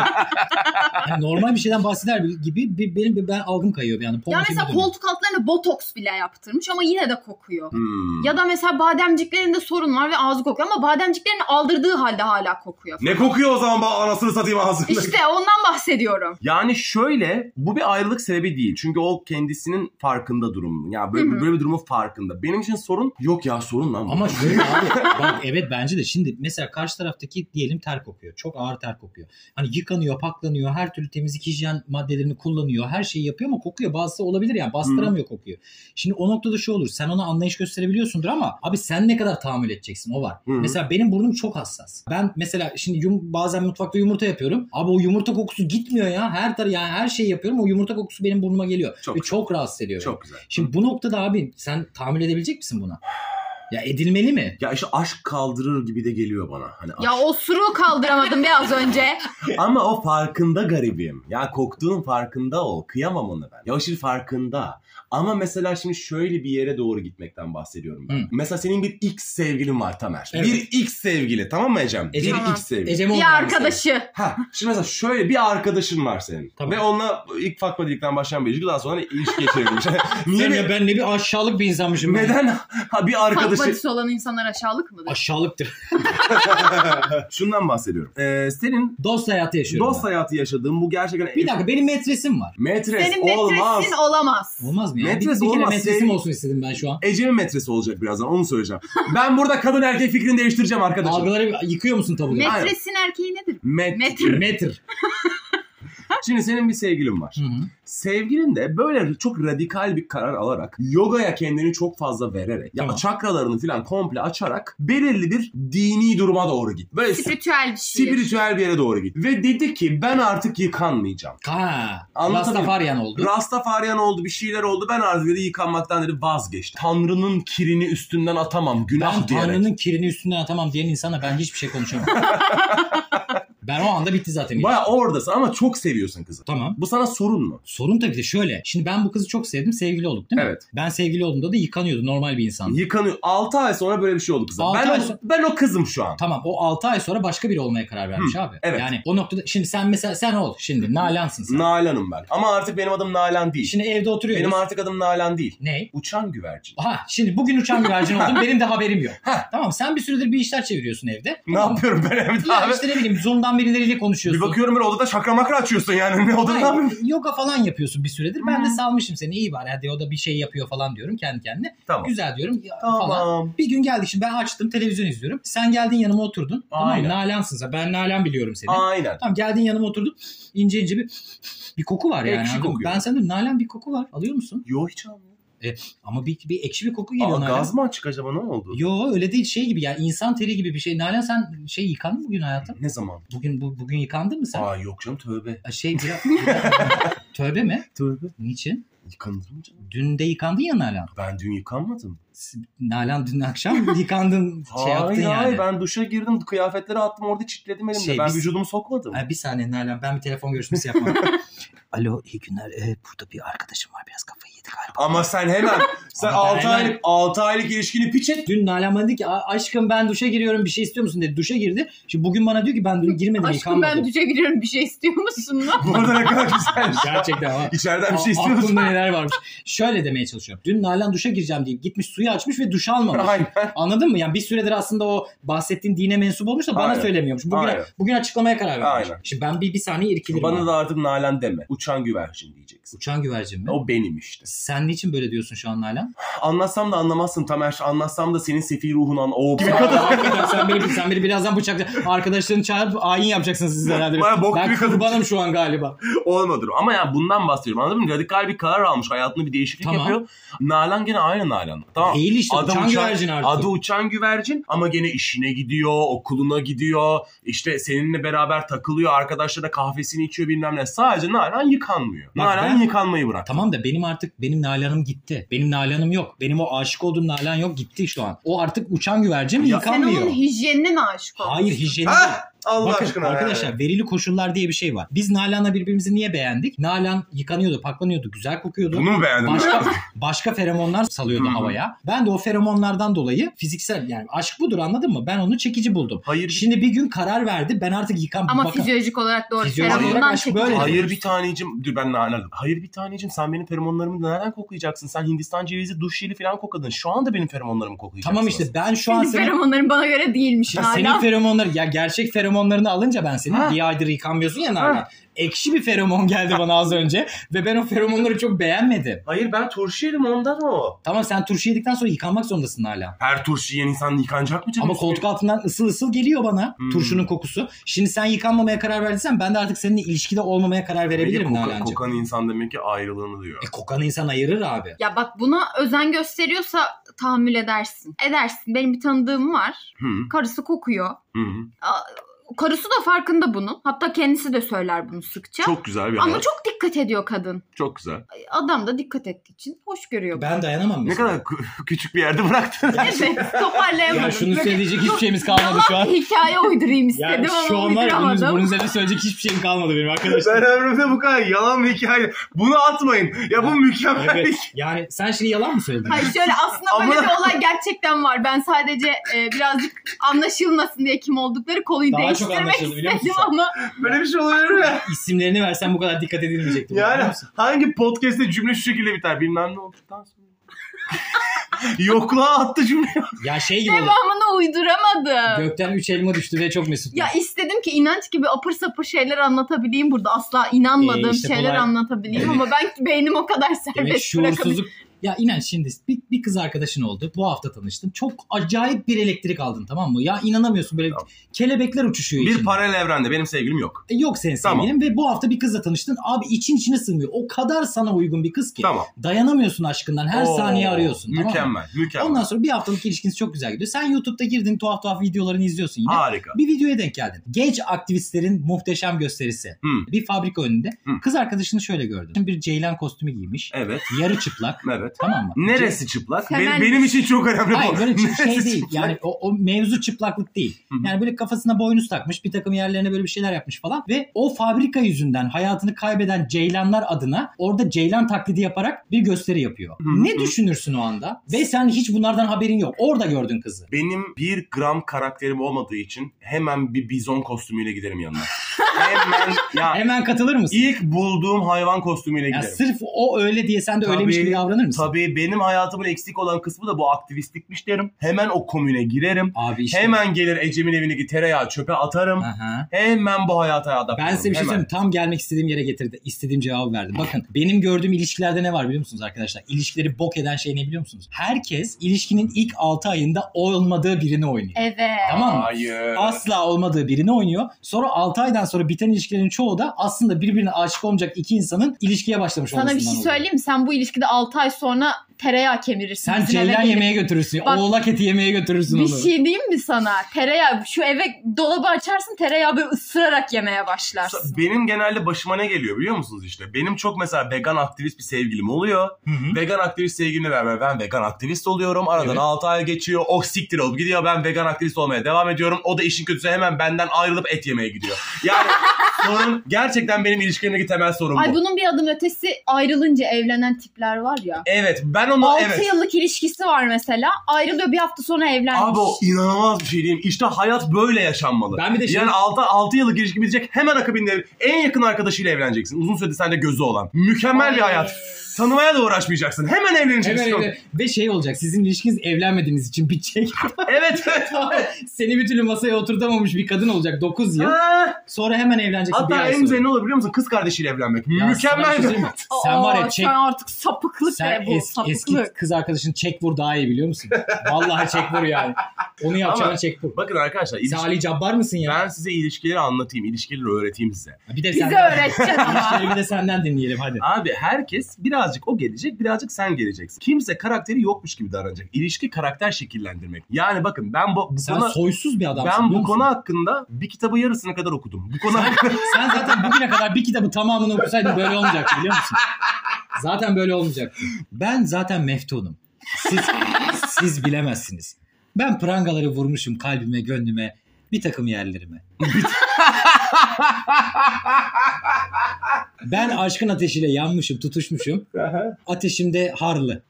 Speaker 2: yani normal bir bir şeyden bahseder gibi bir, benim bir, ben algım kayıyor bir anda. Porno
Speaker 1: Ya mesela
Speaker 2: filmi dönüyor.
Speaker 1: koltuk altlarına botoks bile yaptırmış ama yine de kokuyor.
Speaker 4: Hmm.
Speaker 1: Ya da mesela bademciklerinde sorun var ve ağzı kokuyor ama bademciklerini aldırdığı halde hala kokuyor.
Speaker 4: Ne kokuyor o zaman bana anasını satayım ağzımda.
Speaker 1: İşte ondan bahsediyorum.
Speaker 4: Yani şöyle bu bir ayrılık sebebi değil. Çünkü o kendisinin farkında durumun. Yani böyle,
Speaker 1: Hı hı.
Speaker 4: böyle bir durumun farkında. Benim için sorun yok ya sorun lan. bu.
Speaker 2: Ama şöyle abi bak evet bence de şimdi mesela karşı taraftaki diyelim ter kokuyor. Çok ağır ter kokuyor. Hani yıkanıyor, paklanıyor, her türlü temizlik hijyen maddelerini kullanıyor. Her şeyi yapıyor ama kokuyor. Bazısı olabilir yani bastıramıyor
Speaker 4: Hmm.
Speaker 2: kokuyu. Şimdi o noktada şu olur. Sen ona anlayış gösterebiliyorsundur ama abi sen ne kadar tahammül edeceksin o var.
Speaker 4: Hı hı.
Speaker 2: Mesela benim burnum çok hassas. Ben mesela şimdi yum, bazen mutfakta yumurta yapıyorum. Abi o yumurta kokusu gitmiyor ya. Her tar yani her şeyi yapıyorum. O yumurta kokusu benim burnuma geliyor.
Speaker 4: Çok.
Speaker 2: Ve çok rahatsız ediyor. beni.
Speaker 4: Çok güzel.
Speaker 2: Şimdi bu noktada abi sen tahammül edebilecek misin buna? Ya edilmeli mi?
Speaker 4: Ya işte aşk kaldırır gibi de geliyor bana. Hani
Speaker 1: Ya osuruğu kaldıramadım biraz önce.
Speaker 4: Ama o farkında garibim. Ya koktuğun farkında ol. Kıyamam ona ben. Ya o şimdi farkında. Ama mesela şimdi şöyle bir yere doğru gitmekten bahsediyorum ben.
Speaker 2: Hı.
Speaker 4: Mesela senin bir X sevgilin var Tamer.
Speaker 2: Evet.
Speaker 4: Bir X sevgili tamam mı Ecem?
Speaker 2: Ecem.
Speaker 4: Bir
Speaker 1: Tamam.
Speaker 4: X sevgili.
Speaker 2: Ecem
Speaker 1: Bir
Speaker 2: olmayan
Speaker 1: arkadaşı.
Speaker 4: Ha, şimdi mesela şöyle bir arkadaşın var senin.
Speaker 2: Tamam.
Speaker 4: Ve onunla ilk fakma dilikten başlayan bir ilişki daha sonra ilişkiye çevrilmiş.
Speaker 2: bir
Speaker 4: Niye?
Speaker 2: insan. Sen
Speaker 4: bir-
Speaker 2: ya ben ne bir aşağılık bir insanmışım. ben.
Speaker 4: Neden? Ha, bir arkadaşı...
Speaker 1: Fakmatisi olan insanlar aşağılık mıdır?
Speaker 2: Aşağılıktır.
Speaker 4: Şundan bahsediyorum. Ee, senin
Speaker 2: Dost hayatı yaşıyorum.
Speaker 4: dost
Speaker 2: ben.
Speaker 4: hayatı yaşadığın bu gerçekten...
Speaker 2: Bir dakika benim metresim var.
Speaker 4: Metres
Speaker 1: Senin
Speaker 4: olmaz.
Speaker 1: metresin olamaz.
Speaker 2: Olmaz mı ya? Bir-
Speaker 4: Metres
Speaker 2: bir, kere
Speaker 4: olmaz,
Speaker 2: metresim
Speaker 4: sevgili-
Speaker 2: olsun istedim ben şu an.
Speaker 4: Ecem'in metresi olacak birazdan onu söyleyeceğim. Ben burada kadın erkek fikrini değiştireceğim arkadaşım.
Speaker 2: Algıları yıkıyor musun tabuları?
Speaker 4: Met-
Speaker 1: Metresin erkeği nedir?
Speaker 4: Met-
Speaker 1: Metre.
Speaker 2: Metre.
Speaker 4: Şimdi senin bir sevgilin var.
Speaker 2: Hı hı.
Speaker 4: Sevgilin de böyle çok radikal bir karar alarak yogaya kendini çok fazla vererek ya
Speaker 2: Tamam.
Speaker 4: çakralarını falan komple açarak belirli bir dini duruma doğru git. Böyle sp-
Speaker 1: Spiritüel bir şey.
Speaker 4: spiritüel bir yere doğru git. Ve dedi ki ben artık yıkanmayacağım.
Speaker 2: Ha.
Speaker 4: Anlatabiliyor muyum?
Speaker 2: Rastafaryan oldu.
Speaker 4: Rastafaryan oldu bir şeyler oldu ben artık dedi yıkanmaktan dedi vazgeçtim. Tanrı'nın kirini üstünden atamam günah
Speaker 2: Ben
Speaker 4: diyerek.
Speaker 2: Tanrı'nın kirini üstünden atamam diyen insana ben hiçbir şey konuşamam. ben o anda bitti zaten.
Speaker 4: Baya oradasın ama çok seviyorsun kızı.
Speaker 2: Tamam.
Speaker 4: Bu sana sorun mu?
Speaker 2: Sorun tabii ki de şöyle. Şimdi ben bu kızı çok sevdim. Sevgili olduk değil mi?
Speaker 4: Evet.
Speaker 2: Ben sevgili olduğumda da yıkanıyordu. Normal bir insan.
Speaker 4: Yıkanıyor. 6 ay sonra böyle bir şey oldu kızım.
Speaker 2: Altı
Speaker 4: Ben,
Speaker 2: ay
Speaker 4: o,
Speaker 2: sonra-
Speaker 4: ben o kızım şu an.
Speaker 2: Tamam o 6 ay sonra başka biri olmaya karar vermiş abi.
Speaker 4: evet.
Speaker 2: Yani o noktada şimdi sen mesela sen ol şimdi Nalan'sın sen.
Speaker 4: Nalan'ım ben. Ama artık benim adım Nalan değil.
Speaker 2: Şimdi evde oturuyoruz.
Speaker 4: benim artık adım Nalan değil.
Speaker 2: Ne?
Speaker 4: Uçan güvercin.
Speaker 2: Ha şimdi bugün uçan güvercin oldum benim de haberim yok.
Speaker 4: Ha.
Speaker 2: Tamam sen bir süredir bir işler çeviriyorsun evde.
Speaker 4: Ne yapıyorum ben evde
Speaker 2: Ya
Speaker 4: abi?
Speaker 2: işte ne bileyim Zoom'dan birileriyle
Speaker 4: Bir
Speaker 2: konuşuyorsun.
Speaker 4: bakıyorum böyle odada şakra makra açıyorsun yani. Ne odada ne
Speaker 2: Hayır,
Speaker 4: yapıyorsun?
Speaker 2: yoga falan yapıyorsun bir süredir. Ben de
Speaker 1: Hı.
Speaker 2: salmışım seni iyi bari hadi o da bir şey yapıyor falan diyorum kendi kendine.
Speaker 4: Tamam.
Speaker 2: Güzel diyorum ya, falan.
Speaker 4: Tamam.
Speaker 2: Bir gün geldik şimdi ben açtım televizyon izliyorum. Sen geldin yanıma oturdun. Tamam
Speaker 4: Aynen.
Speaker 2: mı? Nalansın sen. Ben Nalan biliyorum seni.
Speaker 4: Aynen.
Speaker 2: Tamam geldin yanıma oturdun. İnce ince bir bir koku var yani.
Speaker 4: Ekşi
Speaker 2: anladın mı?
Speaker 4: kokuyor.
Speaker 2: Ben sana dedim Nalan bir koku var. Alıyor musun?
Speaker 4: Yo hiç almıyor.
Speaker 2: Ama bir, bir ekşi bir koku geliyor
Speaker 4: Aa,
Speaker 2: Nalan.
Speaker 4: gaz mı açık acaba ne oldu?
Speaker 2: Yo öyle değil şey gibi yani insan teri gibi bir şey. Nalan sen şey yıkandın mı bugün hayatım?
Speaker 4: Ne zaman?
Speaker 2: Bugün bu, bugün yıkandın mı sen?
Speaker 4: Aa yok canım tövbe.
Speaker 2: Şey biraz... Tövbe mi?
Speaker 4: Tövbe.
Speaker 2: Niçin?
Speaker 4: Yıkanır mı canım?
Speaker 2: Dün de yıkandın ya Nalan.
Speaker 4: Ben dün yıkanmadım.
Speaker 2: S- Nalan dün akşam yıkandın şey
Speaker 4: hayır
Speaker 2: yaptın yani.
Speaker 4: hayır ben duşa girdim kıyafetleri attım orada çitledim elimle.
Speaker 2: Şey,
Speaker 4: ben
Speaker 2: biz-
Speaker 4: vücudumu sokmadım.
Speaker 2: Ha, bir saniye Nalan ben bir telefon görüşmesi yapmam. Alo iyi günler. Ee, burada bir arkadaşım var biraz kafayı yedi galiba.
Speaker 4: Ama sen hemen sen
Speaker 2: Ama ben
Speaker 4: 6
Speaker 2: hemen-
Speaker 4: aylık 6 aylık ilişkini piç et.
Speaker 2: Dün Nalan bana dedi ki "A- aşkım ben duşa giriyorum bir şey istiyor musun dedi. Duşa girdi. Şimdi bugün bana diyor ki ben dün girmedim
Speaker 1: Aşkım ben
Speaker 2: yıkanmadım.
Speaker 1: düşe giriyorum bir şey istiyor musun lan?
Speaker 4: Bu arada ne kadar güzel.
Speaker 2: Gerçekten ha.
Speaker 4: İçeriden bir şey
Speaker 2: A-
Speaker 4: istiyorsun.
Speaker 2: Aklımda neler varmış. Şöyle demeye çalışıyorum. Dün Nalan duşa gireceğim deyip gitmiş suyu açmış ve duş almamış.
Speaker 4: Aynen.
Speaker 2: Anladın mı? Yani bir süredir aslında o bahsettiğin dine mensup olmuş da bana
Speaker 4: Aynen.
Speaker 2: söylemiyormuş. Bugün,
Speaker 4: Aynen.
Speaker 2: bugün açıklamaya karar vermiş.
Speaker 4: Aynen.
Speaker 2: Şimdi ben bir, bir saniye irkilirim.
Speaker 4: Bana
Speaker 2: abi.
Speaker 4: da artık Nalan deme. Uçan güvercin diyeceksin.
Speaker 2: Uçan güvercin mi?
Speaker 4: O benim işte.
Speaker 2: Sen niçin böyle diyorsun şu an Nalan?
Speaker 4: Anlatsam da anlamazsın Tamer. Anlatsam da senin sefi ruhun an. O bir kadın.
Speaker 2: Hakikaten sen beni, sen beni birazdan bıçakla arkadaşlarını çağırıp ayin yapacaksınız siz herhalde.
Speaker 4: Bana bok
Speaker 2: ben
Speaker 4: gibi kadın-
Speaker 2: kurbanım şu an galiba.
Speaker 4: Olmadır. Ama ya bundan bahsediyorum. Anladın mı? Radikal bir karar almış. Hayatında bir değişiklik
Speaker 2: Tamam.
Speaker 4: yapıyor. Nalan gene aynı Nalan. Tamam.
Speaker 2: Değil işte
Speaker 4: Adam
Speaker 2: uçan
Speaker 4: uçan-
Speaker 2: güvercin artık.
Speaker 4: Adı uçan güvercin ama gene işine gidiyor, okuluna gidiyor. İşte seninle beraber takılıyor, arkadaşlarına kahvesini içiyor bilmem ne. Sadece Nalan yıkanmıyor.
Speaker 2: Bak
Speaker 4: Nalan
Speaker 2: ben-
Speaker 4: yıkanmayı bırak.
Speaker 2: Tamam da benim artık benim Nalan'ım gitti. Benim Nalan'ım yok. Benim o aşık olduğum Nalan yok gitti şu an. O artık uçan güvercin
Speaker 4: Ya-
Speaker 1: Sen
Speaker 2: yıkanmıyor.
Speaker 1: onun hijyenine mi aşık oldun?
Speaker 2: Hayır hijyeni
Speaker 4: Ha!
Speaker 2: değil.
Speaker 4: Allah
Speaker 2: Bakın
Speaker 4: aşkına.
Speaker 2: arkadaşlar
Speaker 4: yani.
Speaker 2: verili koşullar diye bir şey var. Biz Nalan'la birbirimizi niye beğendik? Nalan yıkanıyordu, paklanıyordu, güzel kokuyordu.
Speaker 4: Bunu mu beğendin?
Speaker 2: Başka başka feromonlar salıyordu
Speaker 4: Hı hı.
Speaker 2: havaya. Ben de o feromonlardan dolayı fiziksel yani aşk budur anladın mı? Ben onu çekici buldum.
Speaker 4: Hayır.
Speaker 2: Şimdi bir gün karar verdi. Ben artık yıkan
Speaker 1: Ama
Speaker 2: bakın.
Speaker 1: fizyolojik olarak doğru.
Speaker 2: Fizyolojik
Speaker 1: Feromondan
Speaker 2: olarak
Speaker 1: çekici.
Speaker 2: böyle.
Speaker 4: Hayır bir tanecim. Dur ben anladım. Hayır bir tanecim sen benim feromonlarımı nereden koklayacaksın? Sen Hindistan cevizi duş jeli falan kokladın. Şu anda benim feromonlarımı koklayacaksın.
Speaker 2: Tamam işte ben şu an
Speaker 1: Senin
Speaker 2: senin,
Speaker 1: feromonların bana göre değilmiş
Speaker 2: Ya
Speaker 1: hala.
Speaker 2: senin feromonları ya gerçek feromonlarını alınca ben senin
Speaker 4: Ha.
Speaker 2: bir aydır yıkanmıyorsun ya Nalan. Ekşi bir feromon geldi bana az önce ve ben o feromonları çok beğenmedim.
Speaker 4: Hayır ben turşu yedim ondan o.
Speaker 2: Tamam sen turşu yedikten sonra yıkanmak zorundasın hala.
Speaker 4: Her turşu yiyen insan yıkanacak mı canım?
Speaker 2: Ama koltuk altından ısıl ısıl geliyor bana
Speaker 4: Hmm.
Speaker 2: turşunun kokusu. Şimdi sen yıkanmamaya karar verdiysen ben de artık seninle ilişkide olmamaya karar verebilirim
Speaker 4: Koka-
Speaker 2: Nalan'cığım.
Speaker 4: Kokan insan demek ki ayrılığını diyor.
Speaker 2: E kokan insan ayırır abi.
Speaker 1: Ya bak buna özen gösteriyorsa tahammül edersin. Edersin. Benim bir tanıdığım var.
Speaker 4: Hı
Speaker 1: Karısı kokuyor.
Speaker 4: hı hı.
Speaker 1: Karısı da farkında bunun. Hatta kendisi de söyler bunu sıkça.
Speaker 4: Çok güzel bir
Speaker 1: Ama
Speaker 4: hayat.
Speaker 1: çok dikkat ediyor kadın. E,
Speaker 4: Çok güzel.
Speaker 1: Adam da dikkat ettiği için hoş görüyor.
Speaker 2: Ben dayanamam
Speaker 4: Ne
Speaker 2: mesela.
Speaker 4: kadar kü- küçük bir yerde bıraktın.
Speaker 1: Evet toparlayamadım.
Speaker 2: Ya şunu
Speaker 1: Böyle
Speaker 2: söyleyecek hiçbir şeyimiz kalmadı şu an.
Speaker 1: hikaye uydurayım istedim
Speaker 2: Yani şu
Speaker 1: ama
Speaker 2: an var ya bunun,
Speaker 1: uyduramadım.
Speaker 2: bunun üzerine söyleyecek hiçbir şeyim kalmadı benim arkadaşlar.
Speaker 4: Ben ömrümde bu kadar yalan bir hikaye. Bunu atmayın. Ya bu mükemmel.
Speaker 2: Evet. Yani sen şimdi yalan mı söyledin?
Speaker 1: Hayır şöyle aslında böyle
Speaker 4: Ama-
Speaker 1: bir olay gerçekten var. Ben sadece e, birazcık anlaşılmasın diye kim oldukları konuyu
Speaker 2: Daha çok
Speaker 1: değiştirmek
Speaker 2: anlaşıldı biliyor musun
Speaker 1: istedim
Speaker 2: sen?
Speaker 1: ama
Speaker 4: Böyle bir şey olabilir mi?
Speaker 2: İsimlerini versen bu kadar dikkat edilmeyecekti. bu, biliyor
Speaker 4: Yani
Speaker 2: musun?
Speaker 4: hangi podcast'te cümle şu şekilde biter bilmem ne olduktan sonra. Yokluğa attı cümle.
Speaker 2: Ya şey gibi oldu.
Speaker 1: devamını uyduramadım.
Speaker 2: Gökten 3 elma düştü ve çok mesut.
Speaker 1: Ya istedim ki inanç gibi apır sapır şeyler anlatabileyim burada. Asla inanmadığım
Speaker 2: Ee, işte
Speaker 1: şeyler
Speaker 2: kolay.
Speaker 1: anlatabileyim
Speaker 2: Evet.
Speaker 1: ama ben beynim o kadar
Speaker 2: Demek
Speaker 1: serbest bırakabilir.
Speaker 2: şuursuzluk. Ya inan şimdi bir, bir kız arkadaşın oldu. Bu hafta tanıştın. Çok acayip bir elektrik aldın tamam mı? Ya inanamıyorsun böyle
Speaker 4: Tamam.
Speaker 2: kelebekler uçuşuyor
Speaker 4: Bir
Speaker 2: içinde.
Speaker 4: paralel evrende benim sevgilim yok.
Speaker 2: E, Yok senin
Speaker 4: Tamam.
Speaker 2: sevgilin ve bu hafta bir kızla tanıştın. Abi için içine sığmıyor. O kadar sana uygun bir kız ki.
Speaker 4: Tamam.
Speaker 2: Dayanamıyorsun aşkından. Her
Speaker 4: Oo,
Speaker 2: saniye arıyorsun. tamam mı?
Speaker 4: Mükemmel. Mükemmel.
Speaker 2: Ondan sonra bir haftalık ilişkiniz çok güzel gidiyor. Sen YouTube'da girdin tuhaf tuhaf videolarını izliyorsun yine.
Speaker 4: Harika.
Speaker 2: Bir videoya denk geldin. Genç aktivistlerin muhteşem gösterisi.
Speaker 4: Hı.
Speaker 2: Bir fabrika önünde.
Speaker 4: Hı.
Speaker 2: Kız arkadaşını şöyle gördün. Bir ceylan kostümü giymiş.
Speaker 4: Evet.
Speaker 2: Yarı çıplak.
Speaker 4: Evet.
Speaker 2: Tamam mı?
Speaker 4: Neresi çıplak? Be-
Speaker 1: Temel-
Speaker 4: benim için çok önemli bu.
Speaker 2: Hayır böyle çı-
Speaker 4: Neresi
Speaker 2: şey değil.
Speaker 4: çıplak?
Speaker 2: Yani o, o mevzu çıplaklık değil.
Speaker 4: Hı hı.
Speaker 2: Yani böyle kafasına boynuz takmış, bir takım yerlerine böyle bir şeyler yapmış falan ve o fabrika yüzünden hayatını kaybeden ceylanlar adına orada ceylan taklidi yaparak bir gösteri yapıyor.
Speaker 4: hı.
Speaker 2: Ne düşünürsün o anda? Ve sen hiç bunlardan haberin yok. Orada gördün kızı.
Speaker 4: Benim bir gram karakterim olmadığı için hemen bir bizon kostümüyle giderim yanına. hemen ya
Speaker 2: Hemen katılır mısın?
Speaker 4: ilk bulduğum hayvan kostümüyle
Speaker 2: Ya
Speaker 4: giderim.
Speaker 2: sırf o öyle diye sen de
Speaker 4: Tabii,
Speaker 2: öylemiş gibi davranır mısın?
Speaker 4: Tabii benim hayatımın eksik olan kısmı da bu aktivistlikmiş derim. Hemen o komüne girerim.
Speaker 2: Abi işte.
Speaker 4: Hemen gelir Ecem'in evindeki tereyağı çöpe atarım.
Speaker 2: Aha.
Speaker 4: Hemen bu hayata adapte
Speaker 2: Ben size bir şey
Speaker 4: Hemen.
Speaker 2: söyleyeyim. Tam gelmek istediğim yere getirdi. İstediğim cevabı verdi. Bakın benim gördüğüm ilişkilerde ne var biliyor musunuz arkadaşlar? İlişkileri bok eden şey ne biliyor musunuz? Herkes ilişkinin ilk 6 ayında olmadığı birini oynuyor.
Speaker 1: Evet.
Speaker 2: Tamam mı?
Speaker 4: Hayır.
Speaker 2: Asla olmadığı birini oynuyor. Sonra 6 aydan sonra biten ilişkilerin çoğu da aslında birbirine aşık olmayacak iki insanın ilişkiye başlamış
Speaker 1: Sana bir
Speaker 2: olmasından
Speaker 1: şey
Speaker 2: oluyor.
Speaker 1: söyleyeyim mi? Sen bu ilişkide 6 ay sonra tereyağı kemirirsin.
Speaker 2: Sen
Speaker 1: bizim eve
Speaker 2: ceylan
Speaker 1: gelip.
Speaker 2: yemeğe götürürsün.
Speaker 1: Bak-
Speaker 2: oğlak eti yemeğe götürürsün
Speaker 1: Bir
Speaker 2: onu.
Speaker 1: şey diyeyim mi sana? Tereyağı şu eve dolabı açarsın tereyağı böyle ısırarak yemeye başlarsın.
Speaker 4: Benim genelde başıma ne geliyor biliyor musunuz işte? Benim çok mesela vegan aktivist bir sevgilim oluyor.
Speaker 2: Hı hı.
Speaker 4: Vegan aktivist sevgilimle beraber ben vegan aktivist oluyorum. Aradan
Speaker 2: Evet.
Speaker 4: 6 ay geçiyor. O siktir olup gidiyor. Ben vegan aktivist olmaya devam ediyorum. O da işin kötüsü hemen benden ayrılıp et yemeye gidiyor. Yani sorun gerçekten benim ilişkilerimdeki temel sorun
Speaker 1: Ay
Speaker 4: bu.
Speaker 1: bunun bir adım ötesi ayrılınca evlenen tipler var ya.
Speaker 4: Evet ben onu
Speaker 1: 6
Speaker 4: evet.
Speaker 1: yıllık ilişkisi var mesela. Ayrılıyor bir hafta sonra evlenmiş.
Speaker 4: Abi o inanılmaz bir şey diyeyim. İşte hayat böyle yaşanmalı.
Speaker 2: Ben bir de şey-
Speaker 4: Yani 6, 6 yıllık ilişki bitecek hemen akabinde en yakın arkadaşıyla evleneceksin. Uzun süredir sende gözü olan. Mükemmel
Speaker 1: Ay.
Speaker 4: bir hayat. Tanımaya da uğraşmayacaksın. Hemen
Speaker 2: Hemen
Speaker 4: evleneceksin.
Speaker 2: evlen- Ve şey olacak sizin ilişkiniz evlenmediğiniz için bitecek.
Speaker 4: Evet. evet.
Speaker 2: Tamam. Seni bir türlü masaya oturtamamış bir kadın olacak 9 yıl.
Speaker 4: Ha,
Speaker 2: Sonra hemen evleneceksin bir
Speaker 4: Hatta
Speaker 2: ay
Speaker 4: en
Speaker 2: sonra.
Speaker 4: güzel ne olur biliyor musun? Kız kardeşiyle evlenmek.
Speaker 2: Ya sana bir
Speaker 4: Mükemmel.
Speaker 2: şey
Speaker 4: bir-
Speaker 2: söyleyeyim mi? Sen var ya
Speaker 1: Aa,
Speaker 2: çek
Speaker 1: Sen artık sapıklık
Speaker 2: sen
Speaker 1: be bu
Speaker 2: eski, eski
Speaker 1: sapıklık.
Speaker 2: kız arkadaşın çek vur daha iyi biliyor musun? Vallahi çek vur yani. Onu yapacağına
Speaker 4: Ama-
Speaker 2: çek vur.
Speaker 4: Bakın arkadaşlar
Speaker 2: Sen
Speaker 4: ilişki...
Speaker 2: Ali Cabbar mısın ya?
Speaker 4: ben size ilişkileri anlatayım. ilişkileri öğreteyim size.
Speaker 2: Bir de
Speaker 1: Bize
Speaker 2: senden,
Speaker 1: öğreteceksin ama.
Speaker 2: bir de senden dinleyelim hadi.
Speaker 4: Abi herkes birazcık o gelecek, birazcık sen geleceksin. Kimse karakteri yokmuş gibi davranacak. İlişki karakter şekillendirmek. Yani bakın ben bu, bu
Speaker 2: Sen
Speaker 4: konu-
Speaker 2: soysuz bir adamsın.
Speaker 4: Ben
Speaker 2: biliyor
Speaker 4: bu
Speaker 2: musun?
Speaker 4: konu hakkında bir kitabı yarısına kadar okudum. Bu konu hakkında
Speaker 2: Sen zaten bugüne kadar bir kitabı tamamını okusaydın böyle olmayacaktı biliyor musun? Zaten böyle olmayacaktı. Ben zaten meftunum. Siz, siz bilemezsiniz. Ben prangaları vurmuşum kalbime, gönlüme. bir takım yerlerime. Ben aşkın ateşiyle yanmışım, tutuşmuşum. Ateşimde harlı.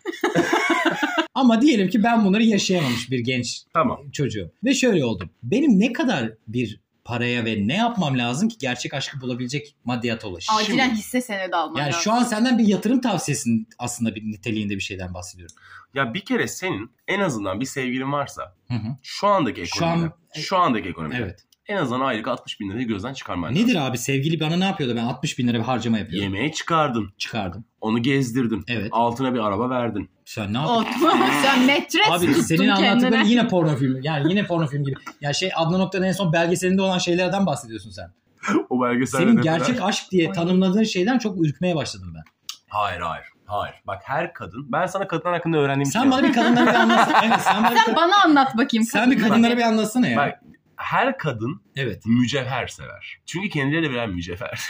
Speaker 2: Ama diyelim ki ben bunları yaşayamamış bir genç
Speaker 4: tamam.
Speaker 2: çocuğum. Ve şöyle oldum. Benim ne kadar bir paraya ve ne yapmam lazım ki gerçek aşkı bulabilecek maddiyata ulaş.
Speaker 1: Acilen hisse senedi alman
Speaker 2: Yani
Speaker 1: lazım.
Speaker 2: şu an senden bir yatırım tavsiyesinin aslında bir niteliğinde bir şeyden bahsediyorum.
Speaker 4: Ya bir kere senin en azından bir sevgilin varsa
Speaker 2: Hı hı.
Speaker 4: şu
Speaker 2: Şu
Speaker 4: andaki ekonomide.
Speaker 2: an-
Speaker 4: Şu, andaki ekonomide.
Speaker 2: Evet.
Speaker 4: En azından aylık 60 bin lirayı gözden çıkarman lazım.
Speaker 2: Nedir abi sevgili bana ne yapıyordu ben 60 bin lira bir harcama yapıyorum.
Speaker 4: Yemeğe çıkardın.
Speaker 2: Çıkardım.
Speaker 4: Onu gezdirdin.
Speaker 2: Evet.
Speaker 4: Altına bir araba verdin.
Speaker 2: Sen ne yaptın?
Speaker 1: Otman sen metres
Speaker 2: Abi
Speaker 1: tuttun
Speaker 2: senin anlattıkların
Speaker 1: kendine.
Speaker 2: yine porno filmi. Yani yine porno film gibi. Ya şey Adnan Oktar'ın en son belgeselinde olan şeylerden bahsediyorsun sen.
Speaker 4: O belgeselde
Speaker 2: Senin
Speaker 4: dediler.
Speaker 2: gerçek aşk diye
Speaker 1: Ay.
Speaker 2: tanımladığın şeyden çok ürkmeye başladım ben.
Speaker 4: Hayır hayır. Hayır. Bak her kadın. Ben sana kadınlar hakkında öğrendiğim
Speaker 2: Sen
Speaker 4: şey.
Speaker 2: bana bir kadınları bir anlatsana. Evet, sen bana bir,
Speaker 1: Sen
Speaker 2: kad-
Speaker 1: bana anlat bakayım.
Speaker 2: sen bir
Speaker 1: kadın.
Speaker 2: kadınları bir anlatsana ya.
Speaker 4: Bak her kadın
Speaker 2: Evet.
Speaker 4: mücevher sever. Çünkü kendileri veren mücevher.